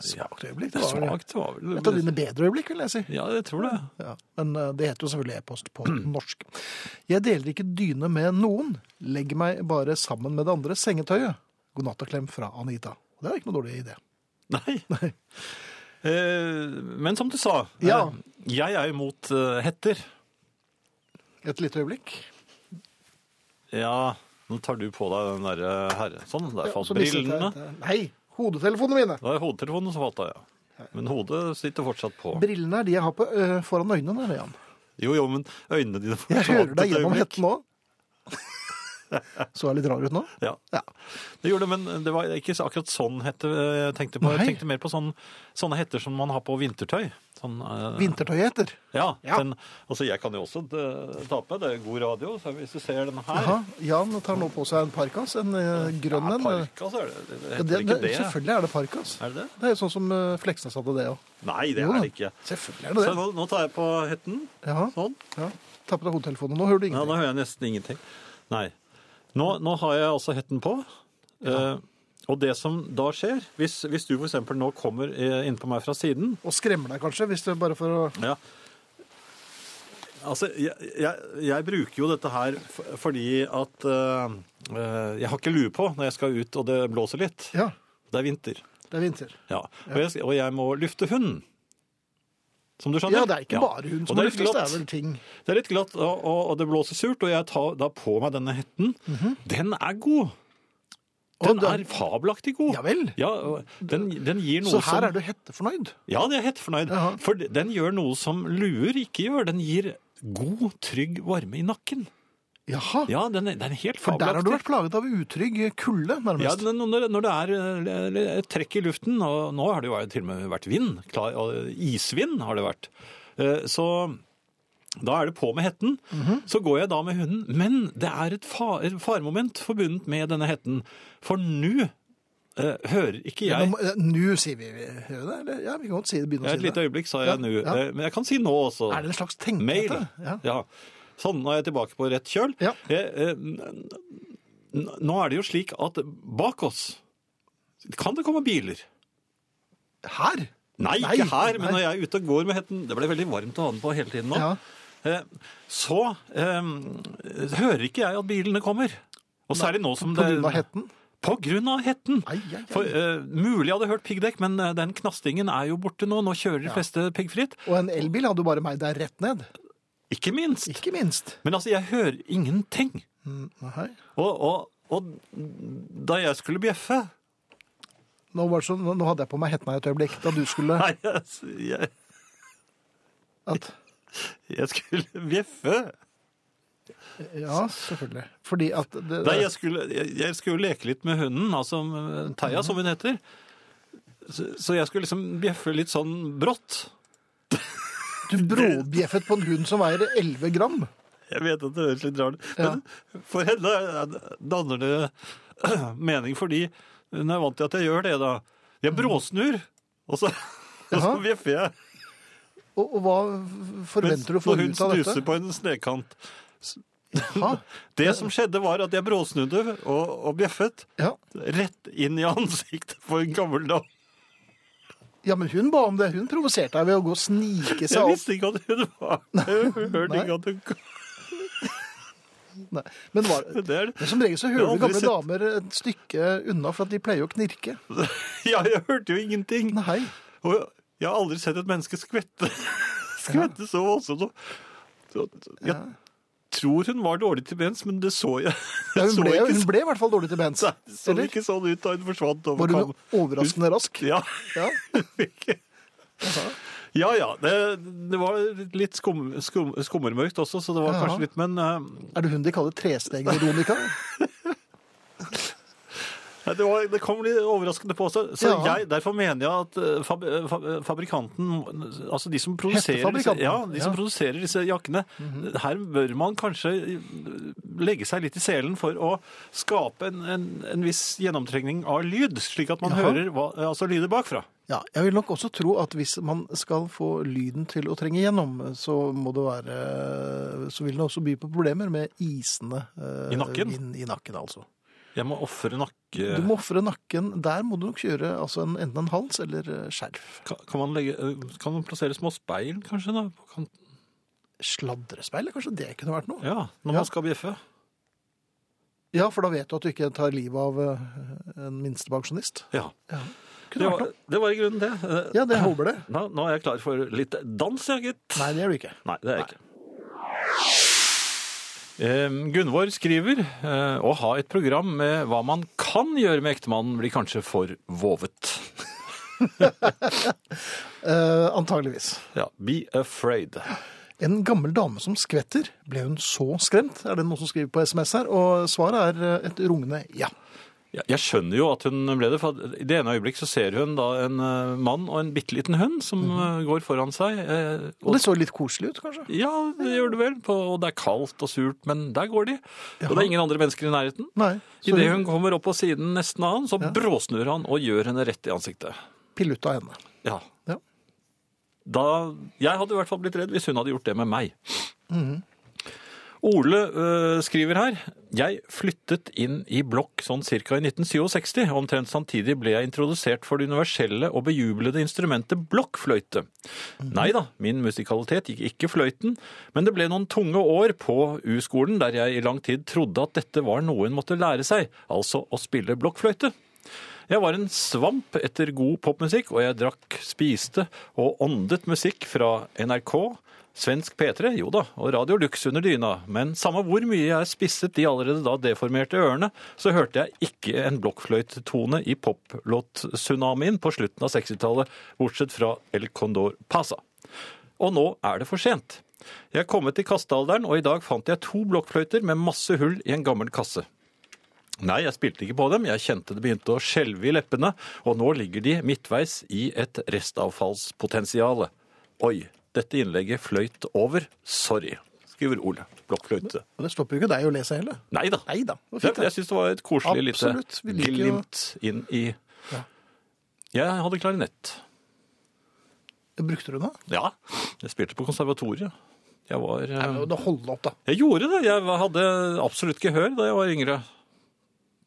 Svakt øyeblikk. Det var vel Svakt var et av vel dine bedre øyeblikk, vil jeg si. Ja, Mm. jeg tror det. Ja, men eh, det heter jo selvfølgelig e-post på norsk. Jeg deler ikke dyne med noen. Legg meg bare sammen med det andre sengetøyet. God natt og klem fra Anita. Det er ikke noe dårlig idé. Nei. Eh, Men som du sa, eh, Ja. jeg er imot eh, hetter. Et lite øyeblikk. Ja, nå tar du på deg den derre herre. Sånn, der Ja, falt så mistet jeg brillene. dette. Nei, hodetelefonene mine. Det var hodetelefonen som falt av, ja. Men hodet sitter fortsatt på. Brillene er de jeg har på, ø, foran øynene. Der, Jan. Jo, jo, men øynene dine Jeg forsvant hører et deg gjennom øyeblikk. hetten nå. Så jeg litt rar ut nå? Ja, Ja. det gjorde det, men det var ikke akkurat sånn hette eh, jeg tenkte på. Nei. Jeg tenkte mer på sånn, sånne hetter som man har på vintertøy. Sånn, eh, Vintertøyet heter. Ja, Ja. Den, altså jeg kan jo også eh, ta på, det er god radio, så hvis du ser den her. Aha, Jan tar nå på seg en parkas, en ø, grønn Ja, en. parka, så er det, det Ja, heter det, ikke det, det. selvfølgelig er det parkas. Er det det? Det er jo sånn som ø, Fleksnes hadde det òg. Nei, det Jo da. er det ikke. Selvfølgelig er det Så det. nå, nå tar jeg på hetten, Jaha. sånn. Ja. Ta på deg hodetelefonen. Nå hører du Ja, nå ingenting. hører jeg nesten ingenting. Nei. Nå, nå har jeg altså hetten på. Eh, og det som da skjer, hvis, hvis du for eksempel nå kommer eh, innpå meg fra siden, Og skremmer deg kanskje, hvis du bare for å ja. Altså, jeg, jeg, jeg bruker jo dette her f- fordi at eh, eh, jeg har ikke lue på når jeg skal ut og det blåser litt. Ja, Det er vinter. det er vinter. Ja. Og, jeg, og jeg må lufte hunden. Som du skjønner? Ja, det er ikke bare hun Og som det er litt luftes, det glatt. er vel ting Det er litt glatt, og, og, og det blåser surt, og jeg tar da på meg denne hetten. Den er god. Den Mhm. da- er fabelaktig god. Ja vel. Ja, og den, den gir noe Så her som... er du hettefornøyd? Ja, det er hettefornøyd. Jaha. For den gjør noe som luer ikke gjør. Den gir god, trygg varme i nakken. Jaha. Ja, den er, den er helt For fabelaktig. der har du vært plaget av utrygg kulde, Ja, nærmest. den- når, når det er eh, eh, trekk i luften, og nå har det jo vært- til og med vært vind, klar, og isvind har det vært, Eh, så da er det på med hetten. Mhm. Så går jeg da med hunden, men det er et fa- et faremoment forbundet med denne hetten. For nå eh, hører ikke Ja, jeg nå må- eh, Nå sier vi hører vi det, eller? Ja, vi kan godt si det, begynne Et å si lite det. øyeblikk sa Ja, jeg nå, ja. eh, men jeg kan si nå også. Er det en slags tenkete? Mail. Ja. Ja. Sånn, nå er jeg tilbake på rett kjøl. Ja. Eh, eh, n- n- nå er det jo slik at bak oss kan det komme biler. Her? Nei, Nei, ikke her, men nei. når jeg er ute og går med hetten Det ble veldig varmt å ha den på hele tiden nå. Ja. Eh, Så eh, hører ikke jeg at bilene kommer. Og særlig nå som På grunn av hetten? På grunn av hetten. Ai, ai, ai. For, eh, mulig jeg hadde hørt piggdekk, men eh, den knastingen er jo borte nå. Nå kjører de fleste piggfritt. Og en elbil hadde jo bare meg der rett ned. Ikke minst. Ikke minst. Men altså, jeg hører ingenting. Mm, Nei. Og, og, og da jeg skulle bjeffe Nå, var det sånn, nå nå hadde jeg på meg hetten her et øyeblikk, da du skulle Nei, jeg, jeg, at, jeg skulle bjeffe. Ja, selvfølgelig. Fordi at det, Nei, jeg skulle, jeg, jeg skulle leke litt med hunden, altså eh, Theia, som hun heter. Så, så jeg skulle liksom bjeffe litt sånn brått. Du bråbjeffet på en hund som veier 11 gram. Jeg vet at det høres litt rart ut, men for henne er- danner det mening, fordi hun er vant til at jeg gjør det, da. Jeg bråsnur, og så, og så Mm. Jaha. bjeffer jeg. Og, og hva Mens forventer du å få når hun ut av dette? snuser på en snekant. Ha? Det som skjedde var at jeg bråsnudde og, og bjeffet Ja. rett inn i ansiktet på en gammel dame. ja, men hun ba om det. Hun provoserte deg ved å gå og snike seg Jeg opp. visste ikke at hun var Jeg hørte ikke at hun Nei. Men var, Det er det. som regel så Jeg hører har du gamle aldri damer et stykke unna, for at de pleier å knirke. Ja, jeg hørte jo ingenting. Nei. Og jeg har aldri sett et menneske skvette, skvette så voldsomt. Så- så- Jeg tror hun var dårlig til bens, men det så jeg. Ja, jeg hun, så ble, ikke hun så- ble i hvert fall dårlig til bens. Nei, det så Eller? ikke sånn ut da hun forsvant over Var hun kam- overraskende rask? Ja. Ja. Ikke- Ja, ja. Det, det var litt skum, skum, skummermørkt også, så det var Jaha. kanskje litt Men eh, Er det hun de kaller trestegeronika? nei, det, var, det kom litt overraskende på seg. Så Ja. jeg, derfor mener jeg at eh, fab, fab, fabrikanten Altså de som produserer, disse, Hettefabrikanten. ja, de som Ja. produserer disse jakkene Her bør man kanskje eh, legge seg litt i selen for å skape en, en, en viss gjennomtrengning av lyd, slik at man Jaha. hører hva, altså lyder bakfra. Ja, jeg vil nok også tro at hvis man skal få lyden til å trenge gjennom, så må det være Så vil det også by på problemer med isende eh, I nakken? vind i nakken, altså. Jeg må ofre nakke... Du må ofre nakken. Der må du nok kjøre altså en, enten en hals eller eh, skjerf. Kan, kan, man legge, eh, kan man plassere små speil, kanskje? da? På kanten? Sladrespeil, kanskje det kunne vært noe? Ja. Ja, når man skal bjeffe. for da vet du at du ikke tar livet av eh, en minstepensjonist. Ja. Det Kunne vært var, noe. det var i grunnen det. Eh, Ja, det håper det. Nå, nå er jeg klar for litt dans, jeg, gitt. Nei, det er du ikke. Nei, det er jeg ikke. Eh, Gunvor skriver eh, å ha et program med hva man kan gjøre med ektemannen blir kanskje for vovet. Eh, antageligvis. Ja, Be afraid. En gammel dame som skvetter. Ble hun så skremt? Er det noen som skriver på SMS her? Og svaret er eh, et rungende ja. Ja, jeg skjønner jo at hun ble det, for at i det ene øyeblikk så ser hun da en eh, mann og en bitte liten hund som eh, går foran seg. eh, Og og det så litt koselig ut, kanskje? ja, det gjør det vel, på, og det er kaldt og surt, men der går de. Og det er ingen andre mennesker i nærheten. Nei. Så Idet hun hun kommer opp på siden nesten av han, så bråsnur han og gjør henne rett i ansiktet. piller ut av henne. Ja. Ja. Da, jeg hadde i hvert fall blitt redd hvis hun hadde gjort det med meg. Ole øh, skriver her Jeg flyttet inn i blokk sånn ca. i 1967. Omtrent samtidig ble jeg introdusert for det universelle og bejublede instrumentet blokkfløyte. Nei da, min musikalitet gikk ikke fløyten, men det ble noen tunge år på U-skolen der jeg i lang tid trodde at dette var noe en måtte lære seg, altså å spille blokkfløyte. Jeg var en svamp etter god popmusikk, og jeg drakk, spiste og åndet musikk fra NRK, svensk P3, jo da, og Radio Lux under dyna. Men samme hvor mye jeg spisset de allerede da deformerte ørene, så hørte jeg ikke en blokkfløytetone i poplåt-tsunamien på slutten av 60-tallet, bortsett fra El Condor Pasa. Og nå er det for sent. Jeg er kommet til kastealderen, og i dag fant jeg to blokkfløyter med masse hull i en gammel kasse. Nei, jeg spilte ikke på dem. Jeg kjente det begynte å skjelve i leppene, og nå ligger de midtveis i et restavfallspotensial. Oi, dette innlegget fløyt over. Sorry, skriver Ole. Blokkfløyte. Og det stopper jo ikke deg å lese heller. Nei da. Nei da. det var Jeg, Fint, jeg syns det var et koselig Absolutt, vi lite liker jo- glimt inn i Jeg hadde klarinett. det. Brukte du det? Ja. Jeg spilte på konservatoriet. Jeg var eh, Nei, men da Hold det opp, da. Jeg gjorde det. Jeg hadde absolutt gehør da jeg var yngre.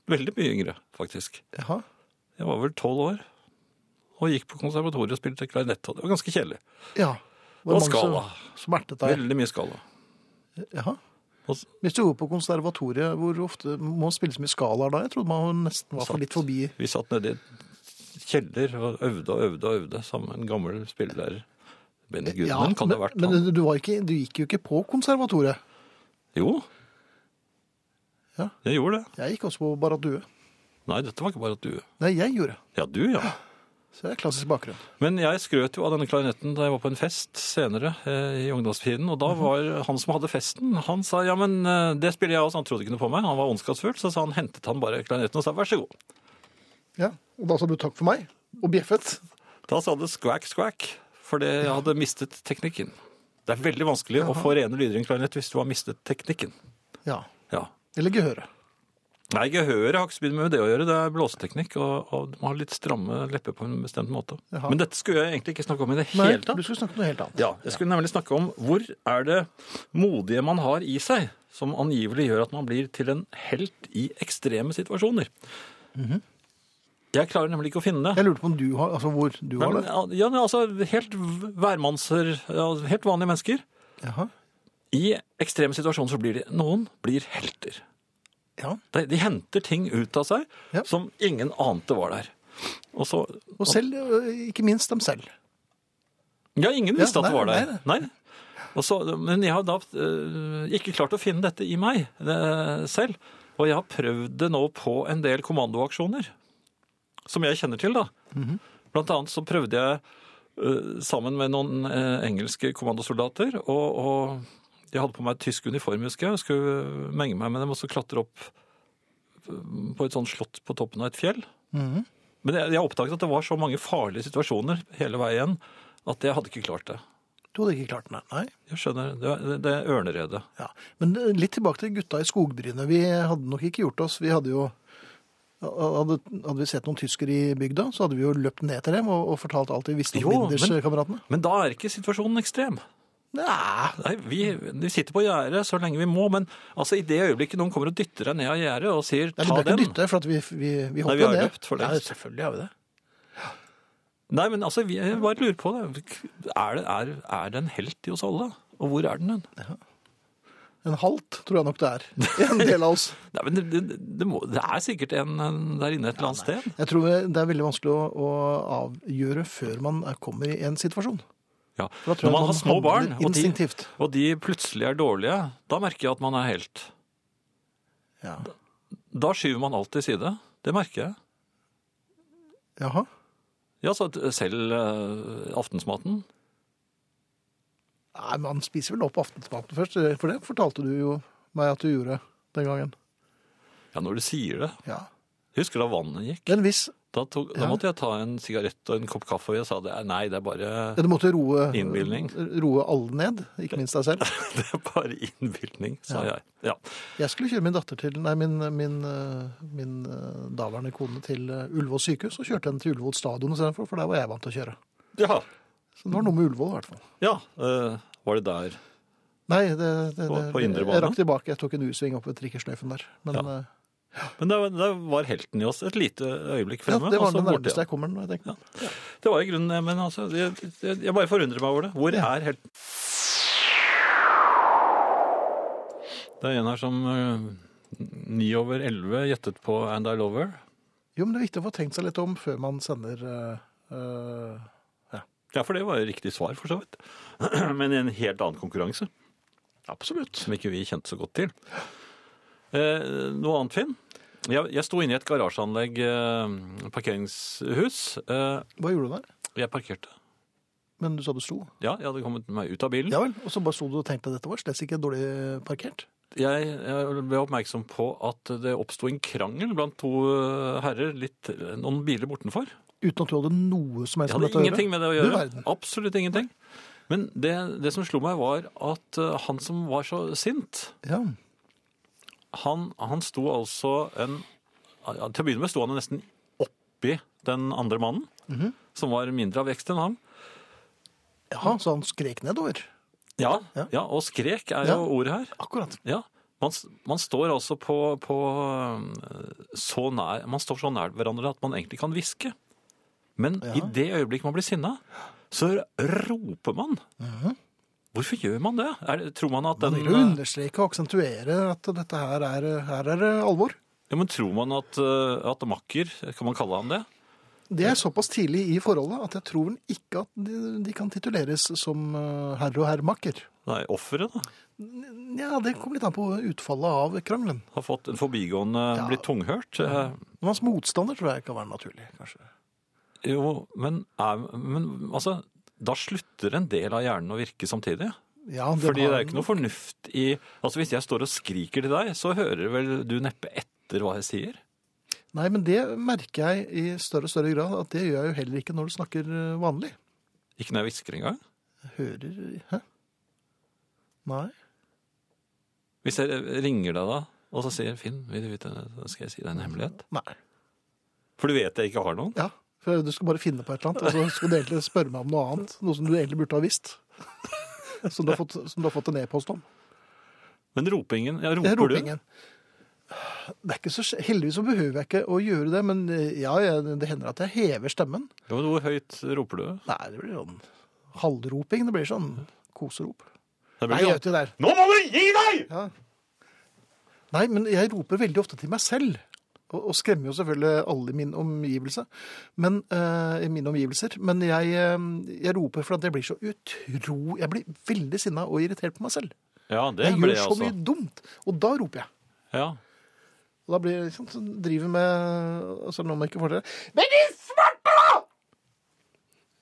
Veldig mye yngre, faktisk. Jaha. Jeg var vel tolv år og gikk på konservatoriet og spilte klarinett. og Det var ganske kjedelig. Ja. Og mange skala. Som smertet deg. Veldig mye skala. Jaha. Og s- Hvis du går på konservatoriet, hvor ofte må man spille så mye skalaer da? Jeg trodde man nesten var for litt forbi. Vi satt nede i en kjeller og øvde og øvde og øvde sammen med en gammel spillelærer. Benny Gudmund kan det ha vært. men, han. men du, var ikke, du gikk jo ikke på konservatoriet. Jo. Ja. Jeg gjorde det. Jeg gikk også på Baradue. Nei, dette var ikke bare at du Nei, jeg gjorde. Ja, du, ja. Så det er klassisk bakgrunn. Men jeg skrøt jo av denne klarinetten da jeg var på en fest senere eh, i ungdomstiden. Og da Mhm. var han som hadde festen, han sa ja, men eh, det spiller jeg også. Han trodde ikke noe på meg. Han var ondskapsfull, så sa han hentet han bare klarinetten og sa vær så god. Ja, Og da sa du takk for meg, og bjeffet. Da sa det skvæk, skvæk, fordi jeg hadde mistet teknikken. Det er veldig vanskelig å få rene lyder i en klarinett hvis du har mistet teknikken. Ja. Ja. Eller gehøret. Nei, gehøret har ikke så mye med det å gjøre. Det er blåseteknikk, og, og du må ha litt stramme lepper på en bestemt måte. Jaha. Men dette skulle jeg egentlig ikke snakke om i det Nei, hele du tatt. skulle snakke om noe helt annet. Ja, jeg skulle nemlig snakke om hvor er det modige man har i seg, som angivelig gjør at man blir til en helt i ekstreme situasjoner. Mhm. Jeg klarer nemlig ikke å finne det. Jeg lurte på om du har, altså hvor du Nei, har men, det. ja, men altså, helt hvermannser, ja, helt vanlige mennesker. Jaha. I ekstreme situasjoner så blir de, noen blir helter. Ja. De, de henter ting ut av seg Ja. som ingen ante var der. Og så, Og selv, ø, ikke minst dem selv. ja, ingen visste Ja, at det nei, var der. Nei. Og så, men jeg har da eh, ikke klart å finne dette i meg eh, selv. Og jeg har prøvd det nå på en del kommandoaksjoner. Som jeg kjenner til, da. Mhm. Blant annet så prøvde jeg eh, sammen med noen eh, engelske kommandosoldater, og, og jeg hadde på meg tysk uniform, husker jeg, og skulle menge meg med dem, og så klatre opp eh, på et sånt slott på toppen av et fjell. Men jeg, jeg oppdaget at det var så mange farlige situasjoner hele veien, at jeg hadde ikke klart det. Du hadde ikke klart den, nei. Jeg skjønner. Det er, det er ørneredet. Ja. Men eh, litt tilbake til gutta i skogbrynet. Vi hadde nok ikke gjort oss. Vi hadde jo hadde, hadde vi sett noen tyskere i bygda, så hadde vi jo løpt ned til dem og, og fortalt alt vi visste om Jo, men- binderskameratene. Men da er ikke situasjonen ekstrem. Nei, Nei, vi, vi sitter på gjerdet så lenge vi må, men altså, i det øyeblikket noen kommer og dytter deg ned av gjerdet og sier Nei, 'ta vi ble ikke den' dytta, for at vi, vi, vi Nei, hoppa vi har ned. løpt for lengst. Ja, selvfølgelig har vi det. Nei, men altså, vi- jeg bare lurer på det. Er det, er, er det en helt i oss alle? Og hvor er den hen? En halt, tror jeg nok det er. En del av oss. Nei, men det, det, det, må, det er sikkert en en der inne et eller annet sted. Jeg tror det er veldig vanskelig å, å avgjøre før man er- kommer i en situasjon. Ja. For da tror Når jeg man man har små handler barn, og de, instinktivt. og de plutselig er dårlige, da merker jeg at man er helt. Ja. Da skyver man alt til side. Det merker jeg. Jaha. Ja, så at selv eh, aftensmaten. Nei, man spiser vel opp aftensmaten først, eh, for det fortalte du jo meg at du gjorde den gangen. Ja, når du sier det. Ja. Husker da vannet gikk? Men hvis Da, tok, da Ja. måtte jeg ta en sigarett og en kopp kaffe, og jeg sa det er- nei, det er bare, ja, du måtte roe, Innbilning. roe alle ned, ikke minst deg selv. det er bare innbildning, sa Ja. jeg. Ja. Jeg skulle kjøre min datter til, nei, min, min, eh, min eh, daværende kone til eh, Ullevål sykehus, og kjørte henne til Ullevål stadion istedenfor, for der var jeg vant til å kjøre. Ja. Så det var noe med Ullevål, i hvert fall. ja. eh, var det der? Nei, det, det, På- det, på indre bane? jeg rakk tilbake. Jeg tok en U-sving opp ved trikkesløyfen der. Men eh, Men der, der var helten i oss et lite øyeblikk ja, fremme. det og var så det borte igjen. nærmeste jeg kommer nå. jeg tenker. Det var i grunnen det, men altså, jeg, jeg, jeg bare forundrer meg over det. Hvor Ja. er helten? Det er en her som eh, ni over elleve gjettet på And I Love Her. Jo, men det er viktig å få tenkt seg litt om før man sender eh, eh, Ja, for det var jo riktig svar, for så vidt. Men i en helt annen konkurranse. Absolutt. Som ikke vi kjente så godt til. Eh, noe annet, Finn? Jeg, jeg sto inne i et garasjeanlegg, eh, parkeringshus. Eh, Hva gjorde du der? jeg parkerte. Men du sa du sto. Ja, jeg hadde kommet meg ut av bilen. Ja vel. Og så bare sto du og tenkte at dette var slett ikke dårlig parkert. Jeg, jeg ble oppmerksom på at det oppsto en krangel blant to eh, herrer litt, noen biler bortenfor. Uten at du hadde noe som Jeg helst hadde ingenting med det å Du gjøre. verden. Absolutt ingenting. Men det, det som slo meg, var at eh, han som var så sint, Ja. han, han sto altså en ja, Til å begynne med sto han jo nesten oppi den andre mannen, Mhm. som var mindre av vekst enn ham. Jaha, så han skrek nedover. Ja, ja. Ja. og skrek er Ja. jo ordet her. Akkurat. Ja, man, s- man står altså på, på eh, så nær, man står så nær hverandre at man egentlig kan hviske. Men i det øyeblikk man blir sinna, så roper man. Mhm. Hvorfor gjør man det? Er, det- tror man at den eh, Han vil jo understreke og aksentuere at dette her er, her er det alvor. Ja, men tror man at, eh, at makker, kan man kalle han det? Det er såpass tidlig i forholdet at jeg tror vel ikke at de, de kan tituleres som eh, herre og herremakker. Nei, offeret, da. Ja, det kommer litt an på utfallet av krangelen. Har fått en forbigående Ja. blitt tunghørt. Eh, Men hans motstander tror jeg kan være naturlig, kanskje. Eh, Jo, men, er, men altså Da slutter en del av hjernen å virke samtidig. Ja, den Fordi det har- er ikke noe fornuft i Altså Hvis jeg står og skriker til deg, så hører vel du neppe etter hva jeg sier? Nei, men det merker jeg i større og større grad at det gjør jeg jo heller ikke når du snakker eh, vanlig. Ikke når jeg hvisker engang? Jeg Hører Hæ? Nei. Hvis jeg ringer deg da, og så sier 'Finn, vil du vite, skal jeg si deg en hemmelighet?' Nei. For du vet jeg ikke har noen? Ja. For du skal bare finne på et eller annet, og så skal du egentlig spørre meg om noe annet. Noe som du egentlig burde ha visst. Som du har fått, som du har fått en e-post om. Men ropingen Ja, Det er roper ropingen. Det er ikke så, heldigvis så behøver jeg ikke å gjøre det, men eh, ja, jeg, det hender at jeg hever stemmen. du? Ja, men Hvor høyt roper du? Nei, det blir sånn halvroping. Det blir sånn koserop. Det Nei, blir jeg ikke- vet det der. Nå må du gi deg! Nei, men jeg roper veldig ofte til meg selv. Og, og skremmer jo selvfølgelig alle i min omgivelse. Men, eh, i mine omgivelser. Men jeg, eh, jeg roper for at jeg blir så utro... Jeg blir veldig sinna og irritert på meg selv. Ja, det Jeg ble gjør jeg så altså. mye dumt. Og da roper jeg. Ja. Og da blir jeg sånn, så driver med altså, Nå må jeg ikke få det Men i svarte! da!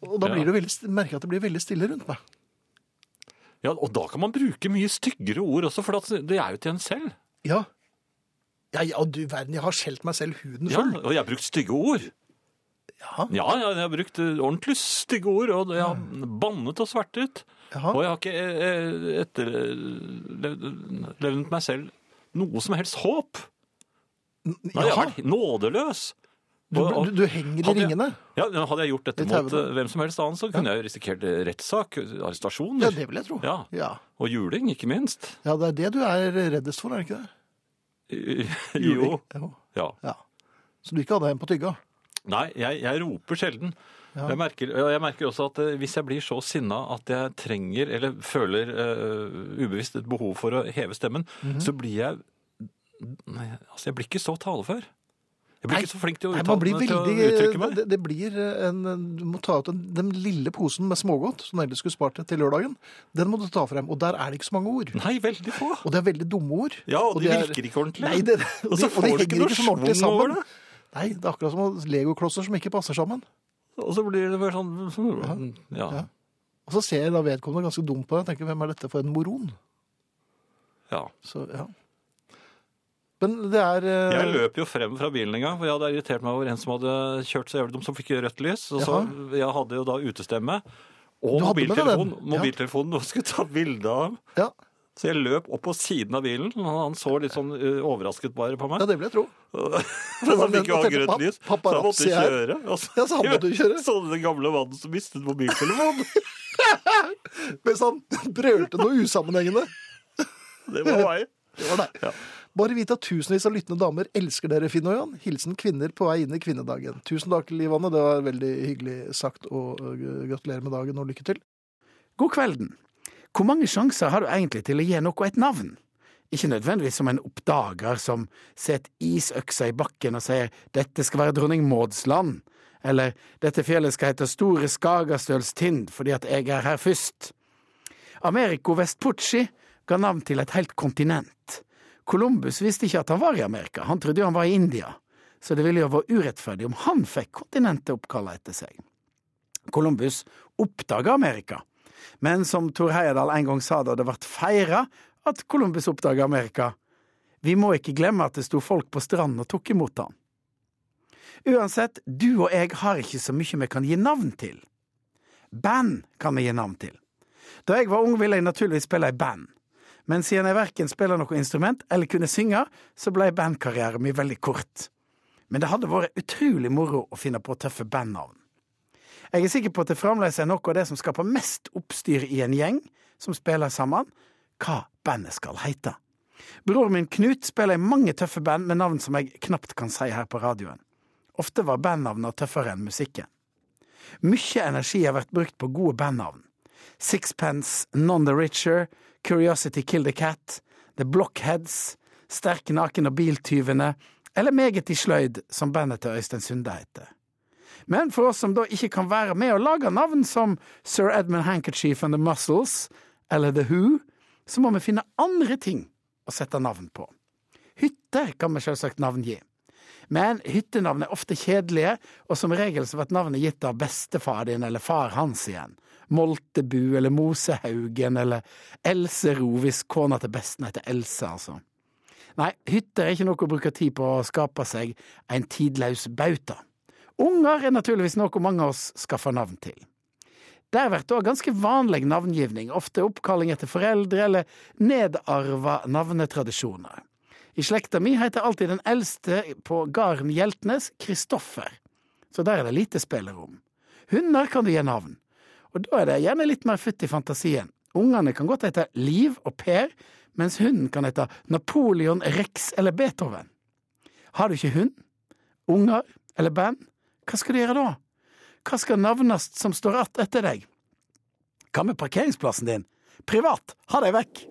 Og da Ja. blir det jo veldig, st- merker jeg at det blir veldig stille rundt meg. ja, og da kan man bruke mye styggere ord også, for at det er jo til en selv. Ja. Ja, ja, du verden, jeg har skjelt meg selv huden Ja, full. og jeg har brukt stygge ord. Ja. Jaha. Ja, ja, jeg har brukt eh, ordentlig stygge ord, og jeg har bannet og svertet. Jaha. Og jeg har ikke eh, eh, etterlevnet meg selv noe som helst håp. Nei, jeg har Jaha. vært nådeløs. Du, du, du henger Hadde i jeg- ringene? Ja, men Hadde jeg gjort dette Litt mot haugen. eh, hvem som helst annen, så kunne jeg jo risikert eh, rettssak, arrestasjon Ja, det vil jeg tro. Ja. ja. og juling, ikke minst. Ja, det er det du er reddest for, er det ikke det? jo. Ja. Ja. Så du ikke hadde en på tygga? Nei, jeg, jeg roper sjelden. Ja. Jeg, merker, og jeg merker også at eh, hvis jeg blir så sinna at jeg trenger, eller føler eh, ubevisst et behov for å heve stemmen, Mhm. så blir jeg Nei, altså jeg blir ikke så talefør. Jeg blir Nei. ikke så flink til å Nei, uttale man blir meg, til å veldig eh, uttrykke meg. det, det blir en Du må ta ut den, den lille posen med smågodt som du ellers skulle spart til til lørdagen. Den må du ta frem. Og der er det ikke så mange ord. Nei, veldig få. Og det er veldig dumme ord. Ja, og de det er- virker ikke ordentlig. Nei, det, Og så de- får de du ikke henger noe sånn ordentlig schwung over sammen. det. Nei, det er akkurat som legoklosser som ikke passer sammen. Og så blir det bare sånn Ja. Ja. Og så ser jeg da vedkommende ganske dum på deg og tenker hvem er dette for en moron? ja. Så, ja. Men det er eh, Jeg løp jo frem fra bilen en gang, for jeg hadde irritert meg over en som hadde kjørt så jævlig dumt, som fikk rødt lys. Og så jeg hadde jo da utestemme og Du hadde med deg mobiltelefon, den, ja. mobiltelefonen noen skulle ta bilde av. ja, Så jeg løp opp på siden av bilen, og han så litt sånn eh, overrasket bare på ja, meg. det vil jeg tro. Men så var den- fikk jo han jeg tenkte, grønt lys, "Pap- så han måtte paparazzi her." kjøre. Og så, Ja, så han måtte kjøre. så den gamle mannen som mistet mobiltelefonen. Mens han brølte noe usammenhengende. Det var meg. Det var deg. Ja. Bare vite at tusenvis av lyttende damer elsker dere, Finn og Jan. Hilsen kvinner på vei inn i kvinnedagen. Tusen takk, Liv Anne. Det var veldig hyggelig sagt, og øh, gratulerer med dagen og lykke til. God kvelden. Hvor mange sjanser har du egentlig til å gi noe et navn? Ikke nødvendigvis som en oppdager som setter isøksa i bakken og sier dette skal være dronning Mauds land, eller dette fjellet skal hete Store Skagastøls tind fordi at jeg er her først. Americo Vespucci ga navn til et helt kontinent. Columbus visste ikke at han var i Amerika, han trodde jo han var i India, så det ville jo være urettferdig om han fikk kontinentet oppkalla etter seg. Columbus oppdaga Amerika. Men som Tor Heyerdahl en gang sa da det ble feira at Columbus oppdaga Amerika, vi må ikke glemme at det sto folk på stranden og tok imot han. Uansett, du og jeg har ikke så mye vi kan gi navn til. Band kan vi gi navn til. Da jeg var ung, ville jeg naturligvis spille i band. Men siden jeg verken spiller noe instrument eller kunne synge, så ble bandkarrieren min veldig kort. Men det hadde vært utrolig moro å finne på tøffe bandnavn. Jeg er sikker på at det fremdeles er noe av det som skaper mest oppstyr i en gjeng som spiller sammen, hva bandet skal heite. Broren min Knut spiller i mange tøffe band med navn som jeg knapt kan si her på radioen. Ofte var bandnavna tøffere enn musikken. Mykje energi har vært brukt på gode bandnavn. Sixpence, Non the Richer, Curiosity Kill the Cat, The Blockheads, Sterk naken og biltyvene, eller Meget i sløyd, som bandet til Øystein Sunde heter. Men for oss som da ikke kan være med å lage navn som Sir Edmund Handkerchief and the Muscles eller The Who, så må vi finne andre ting å sette navn på. Hytter kan vi selvsagt navngi. Men hyttenavn er ofte kjedelige, og som regel så blir navnet gitt av bestefar din eller far hans igjen. Moltebu eller Mosehaugen eller Else Ro, hvis kona til besten heter Else, altså. Nei, hytter er ikke noe å bruke tid på å skape seg en tidløs bauta. Unger er naturligvis noe mange av oss skaffer navn til. Der blir det òg ganske vanlig navngivning, ofte oppkalling etter foreldre eller nedarva navnetradisjoner. I slekta mi heter alltid den eldste på gården Hjeltnes Kristoffer, så der er det lite spillerom. Hunder kan du gi navn, og da er det gjerne litt mer futt i fantasien. Ungene kan godt hete Liv og Per, mens hunden kan hete Napoleon, Rex eller Beethoven. Har du ikke hund, unger eller band? Hva skal du gjøre da? Hva skal navnast som står att etter deg? Hva med parkeringsplassen din? Privat, ha deg vekk!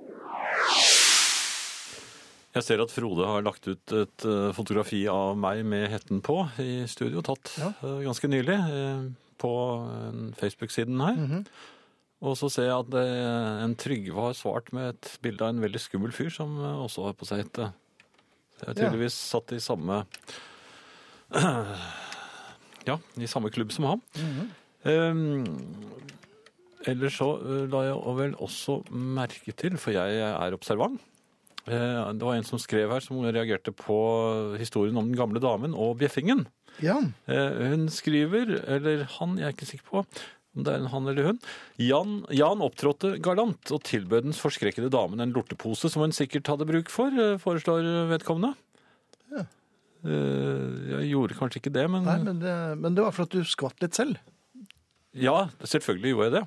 Jeg ser at Frode har lagt ut et eh, fotografi av meg med hetten på i studio, tatt eh, ganske nylig eh, på eh, Facebook-siden her. Og så ser jeg at eh, en Trygve har svart med et bilde av en veldig skummel fyr som eh, også har på seg hette. Så Jeg er Ja. tydeligvis satt i samme Ja, i samme klubb som ham. Ehm, Eh, ellers så eh, la jeg vel også merke til, for jeg er observant Eh, Det var en som skrev her som reagerte på historien om den gamle damen og bjeffingen. Ja. Eh, Hun skriver, eller han, jeg er ikke sikker på om det er en han eller hun. Jan, Jan opptrådte galant og tilbød den forskrekkede damen en lortepose som hun sikkert hadde bruk for, eh, foreslår vedkommende. Eh, Jeg gjorde kanskje ikke det, men, Nei, men det, men det var for at du skvatt litt selv. ja, selvfølgelig gjorde jeg det.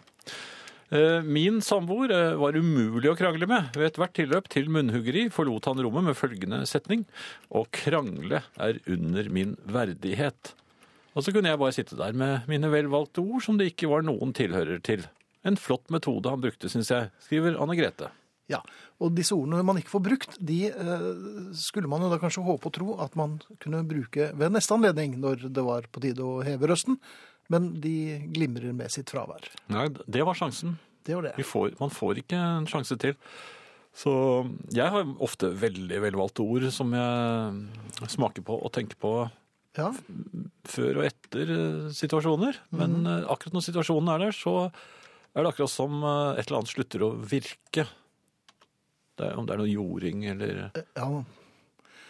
Eh, Min samboer eh, var umulig å krangle med. Ved ethvert tilløp til munnhuggeri forlot han rommet med følgende setning Å krangle er under min verdighet. Og så kunne jeg bare sitte der med mine velvalgte ord som det ikke var noen tilhører til. En flott metode han brukte, syns jeg, skriver Anne Grete. Ja, og disse ordene man ikke får brukt, de eh, skulle man jo da kanskje håpe og tro at man kunne bruke ved neste anledning, når det var på tide å heve røsten, men de glimrer med sitt fravær. Nei, det var sjansen. Det var Vi det. får, man får ikke en sjanse til. Så jeg har ofte veldig velvalgte ord som jeg smaker på og tenker på Ja, før og etter eh, situasjoner. Mhm. Men eh, akkurat når situasjonen er der, så er det akkurat som eh, et eller annet slutter å virke. Det er, om det er noe jording eller ja.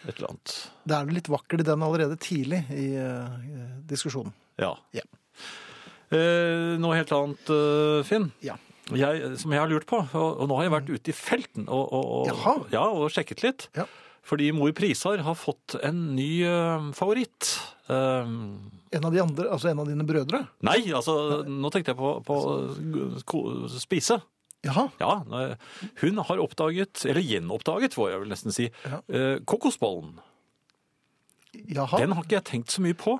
et eller annet. Det er jo litt vakkert i den allerede tidlig i eh, diskusjonen. Ja. Ja. Eh, noe helt annet, eh, Finn. Ja. Jeg, som jeg har lurt på, og, og nå har jeg vært ute i felten og, og, og, Mm. Jaha. ja, og sjekket litt. Ja. Fordi Mor Prisar har fått en ny eh, favoritt. Eh, En av de andre, altså en av dine brødre. nei, altså, nå tenkte jeg på, på eh, ko- spise. Jaha, Ja, nei, hun har oppdaget, eller gjenoppdaget, får jeg vel nesten si, Ja. eh, kokosbollen. jaha. Den har ikke jeg tenkt så mye på.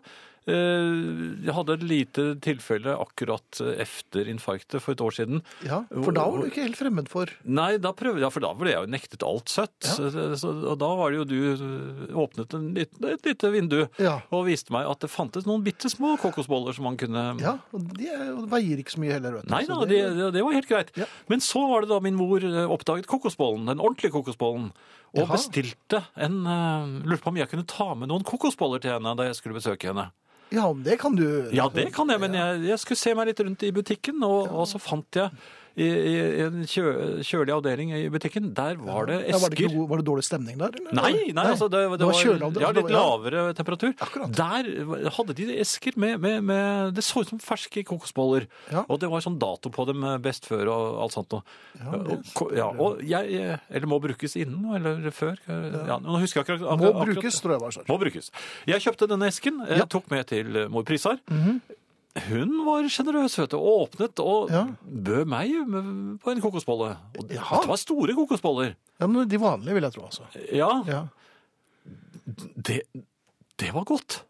Eh, Jeg hadde et lite tilfelle akkurat efter infarktet for et år siden. Ja, for da var du ikke helt fremmed for. Nei, da prøvde jeg, for da ble jeg jo nektet alt søtt. Så, og da var det jo du eh, åpnet en liten, et lite vindu Ja. og viste meg at det fantes noen bitte små kokosboller som man kunne Ja, og de er- og det veier ikke så mye heller, vet du. Nei Så da, det, det, det var helt greit. Ja. Men så var det da min mor eh, oppdaget kokosbollen, den ordentlige kokosbollen, og Jaha. bestilte en eh, Lurte på om jeg kunne ta med noen kokosboller til henne da jeg skulle besøke henne. Ja, men det kan du gjøre. Ja, det kan jeg, men jeg, jeg skulle se meg litt rundt i butikken, og, og så fant jeg i, i en kjø, kjølig avdeling i butikken, der var det Ja, var, det ikke esker. god, var det dårlig stemning der? eller? Nei, nei, altså det, det, var var, kjøleavdeling, ja, det litt var- ja. lavere temperatur. Akkurat. Der hadde de esker med, med, med Det så ut som ferske kokosboller. Ja. Og det var sånn dato på dem, eh, best før og alt sånt noe. Ja, det og, ko- ja, og jeg eh, Eller må brukes innen eller før. eh, Ja, nå husker jeg akkurat, Må akkurat- brukes, tror jeg var sånn. Må brukes. Jeg kjøpte denne esken, eh, Ja. Mhm. tok med til eh, mor Prisar. Hun var sjenerøs, vet du, og åpnet og Ja. bød meg med- på en kokosbolle. Og det Jaha. var store kokosboller. Ja, men de vanlige vil jeg tro, altså. Ja, Ja, Det, det var godt.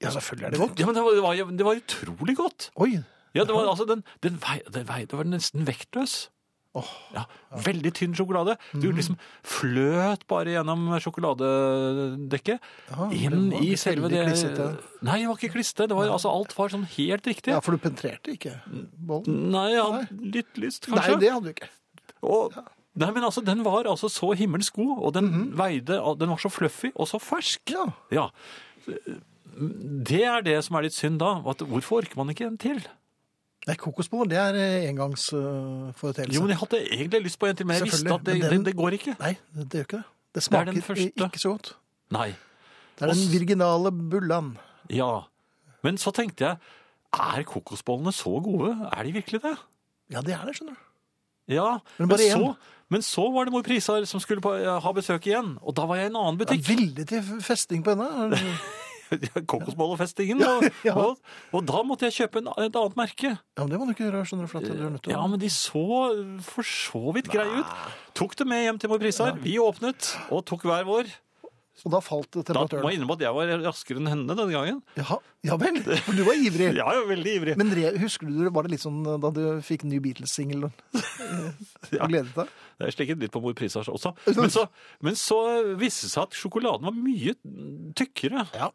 ja selvfølgelig er det godt. Ja, men det var, det var, det var utrolig godt. Oi, Ja, det var, altså, den, den, vei, den vei, det var nesten vektløs. Ja, veldig tynn sjokolade. Du Mhm. liksom fløt bare gjennom sjokoladedekket. Ja, men inn det var i litt selve veldig det klissete. Nei, det var ikke klissete. Det var, altså, alt var sånn helt riktig. ja, for du penetrerte ikke bollen. Nei, jeg hadde litt lyst, Nei, Mm. kanskje. det hadde du ikke. Og, nei, men altså, den var altså så himmelsk god, og den veide Den var så fluffy og så fersk. Mhm. Ja. Ja. Det er det som er litt synd da. At hvorfor orker man ikke en til? Nei, kokosboller, det er eh, engangsforeteelse. Jo, men jeg hadde egentlig lyst på en til, men jeg visste Selvfølgelig, at det, men det, den- det går ikke. Nei, det, det gjør ikke det. Det Det er den smaker eh, første. ikke så godt. Nei. Det er den virginale bullan. Ja. Men så tenkte jeg, er kokosbollene så gode? Er de virkelig det? Ja, det er det, skjønner du. Ja. Men bare så, én. men så var det mor Prisar som skulle på, eh, ha besøk igjen, og da var jeg i en annen Det er butikk. villig til festing på henne. Kokosbollefestingen. Og, Ja. og, og da måtte jeg kjøpe en, et annet merke. Ja, men det må du ikke gjøre, skjønner du, for at du er nødt til å... Ja, men de så eh, for så vidt greie ut. Tok det med hjem til mor Prisar. Vi åpnet og tok hver vår. Og da falt Da må jeg temperaturen. innrømme at jeg var raskere enn henne denne gangen. Jaha, ja vel, for du var ivrig. Jeg er jo veldig ivrig. Men re, husker du, var det litt sånn da du fikk ny Beatles-singel og Ja. gledet deg? Jeg slikket litt på mor Prisar også. Men så, men så viste det seg at sjokoladen var mye tykkere. Ja.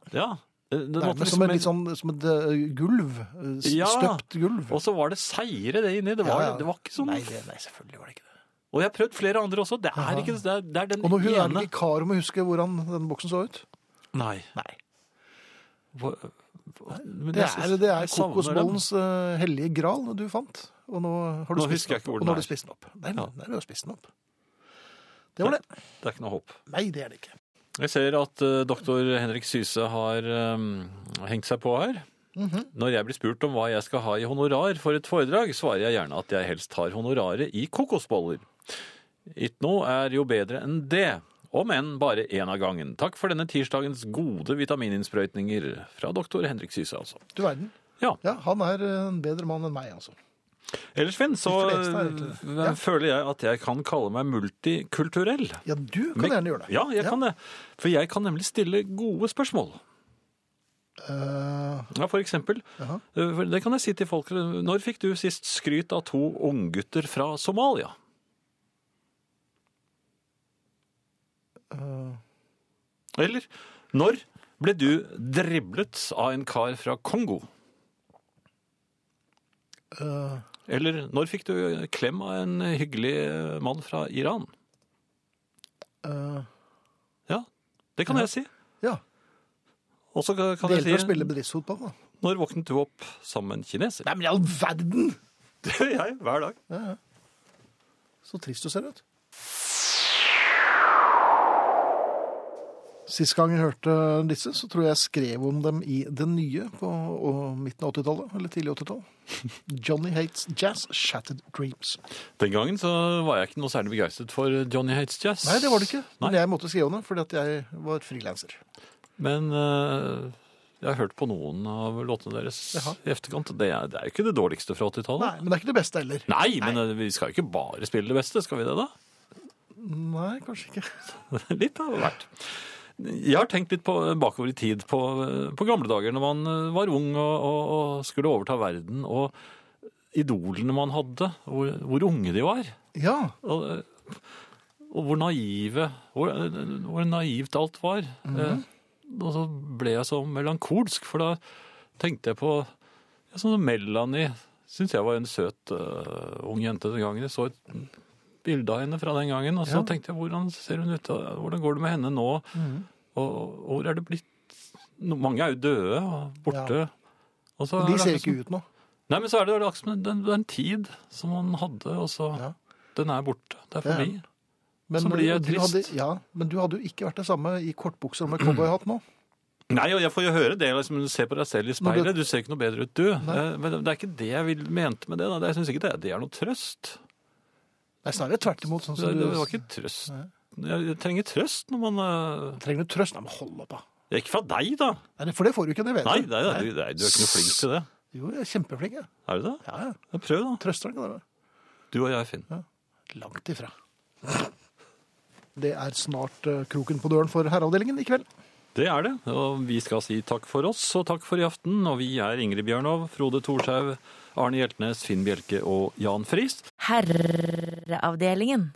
Den Det er måtte med som, liksom- en, litt sånn, som et eh, gulv. eh, s- Ja. Støpt gulv. Og så var det seire det inni. Det var, sånn- Ja, ja. Det var ikke sånn Nei, det, nei, selvfølgelig var det ikke det. Og jeg har prøvd flere andre også. Det er, ikke, det er, det er den Og når hun er ene det ikke kar om å huske hvordan den boksen så ut. Nei. Hva- men Det jeg er, synes- det er jeg savner den. kokosbollens eh, hellige gral du fant. Og nå har du Nå spist husker den jeg ikke hvor opp. den Og nå har er. du spist den opp. Nei, Ja. nei, du har spist den opp. Det var det. Det er ikke noe håp. Nei, det er det ikke. Jeg ser at eh, doktor Henrik Syse har eh, hengt seg på her. Mhm. Når jeg blir spurt om hva jeg skal ha i honorar for et foredrag, svarer jeg gjerne at jeg helst har honoraret i kokosboller. Ikke noe er jo bedre enn det, om enn bare én av gangen. Takk for denne tirsdagens gode vitamininnsprøytninger fra doktor Henrik Syse, altså. Du verden. Ja. Ja, han er en bedre mann enn meg, altså. Ellers, Finn, så De fleste er egentlig- eh, Ja. føler jeg at jeg kan kalle meg multikulturell. Ja, du kan gjerne gjøre det. Ja, jeg kan det. For jeg kan nemlig stille gode spørsmål. Eh, Ja, for eksempel. Jaha. Eh, for Det kan jeg si til folk. Når fikk du sist skryt av to unggutter fra Somalia? Eh. Eller når ble du driblet av en kar fra Kongo? eh, Eller når fikk du klem av en hyggelig mann fra Iran? eh, Ja, det kan jeg si. ja. Og så kan Det hjelper å jeg si spille bedriftsfotball, da. når våknet du opp sammen med en kineser? Nei, men i all verden! Det gjør jeg hver dag. Så trist du ser ut. Sist gang jeg hørte disse, så tror jeg jeg skrev om dem i Det Nye på og midten av 80-tallet, eller tidlig 80-tall. Johnny Hates Jazz, Shattered Dreams. Den gangen så var jeg ikke noe særlig begeistret for Johnny Hates Jazz. Nei, det var det ikke. Men Nei, jeg måtte skrive om det, fordi at jeg var frilanser. men eh, jeg har hørt på noen av låtene deres Jaha. i efterkant. Det er, det er jo ikke det dårligste fra 80-tallet. Men det er ikke det beste heller. Nei, men eh, vi skal jo ikke bare spille det beste, skal vi det da? Nei, kanskje ikke. litt av hvert. Jeg har tenkt litt på bakover i tid på, eh, på gamle dager når man eh, var ung og, og, og skulle overta verden, og idolene man hadde, hvor, hvor unge de var. Ja, Og, eh, og hvor naive hvor, eh, hvor naivt alt var. Mhm. Eh, Og så ble jeg så melankolsk, for da tenkte jeg på ja, sånn Melanie Syns jeg var en søt eh, ung jente den gangen. Jeg så et bilde av henne fra den gangen, og så Ja. Mhm. tenkte jeg hvordan ser hun ut? og Hvordan går det med henne nå? Og, og hvor er det blitt no, Mange er jo døde og borte. Og så de ser ikke ut nå. Nei, men så er det jo akkurat som den, den tid som man hadde, og så Ja. Den er borte. Det er Det er forbi. den. Men, Så blir jeg du trist. Hadde, ja, men du hadde jo ikke vært det samme i kortbukser og med cowboyhatt nå. Nei, og jeg får jo høre det. Liksom, du ser på deg selv i Men speilet, du ser ikke noe bedre ut, du. Eh, Men det er ikke det jeg vil, mente med det. Da. Jeg syns ikke det, det er noe trøst. Nei, snarere tvert imot. Sånn Det, som det var du ikke trøst. Jeg jeg trenger trøst når man eh, trenger du trøst. Nei, men hold opp, da. ja, Ikke fra deg, da. Nei, det- for det får du ikke, det vet Nei, du. nei, nei, du, nei, du er ikke noe flink til det. Jo, jeg er kjempeflink, jeg. Er du det? Ja, ja. Ja, prøv, da. Trøster kan det være. Du og jeg, Finn. Langt ifra. Det er snart eh, kroken på døren for herreavdelingen i kveld. Det er det. Og vi skal si takk for oss og takk for i aften. Og vi er Ingrid Bjørnov, Frode Thorshaug, Arne Hjeltnes, Finn Bjelke og Jan Friis. Herreavdelingen.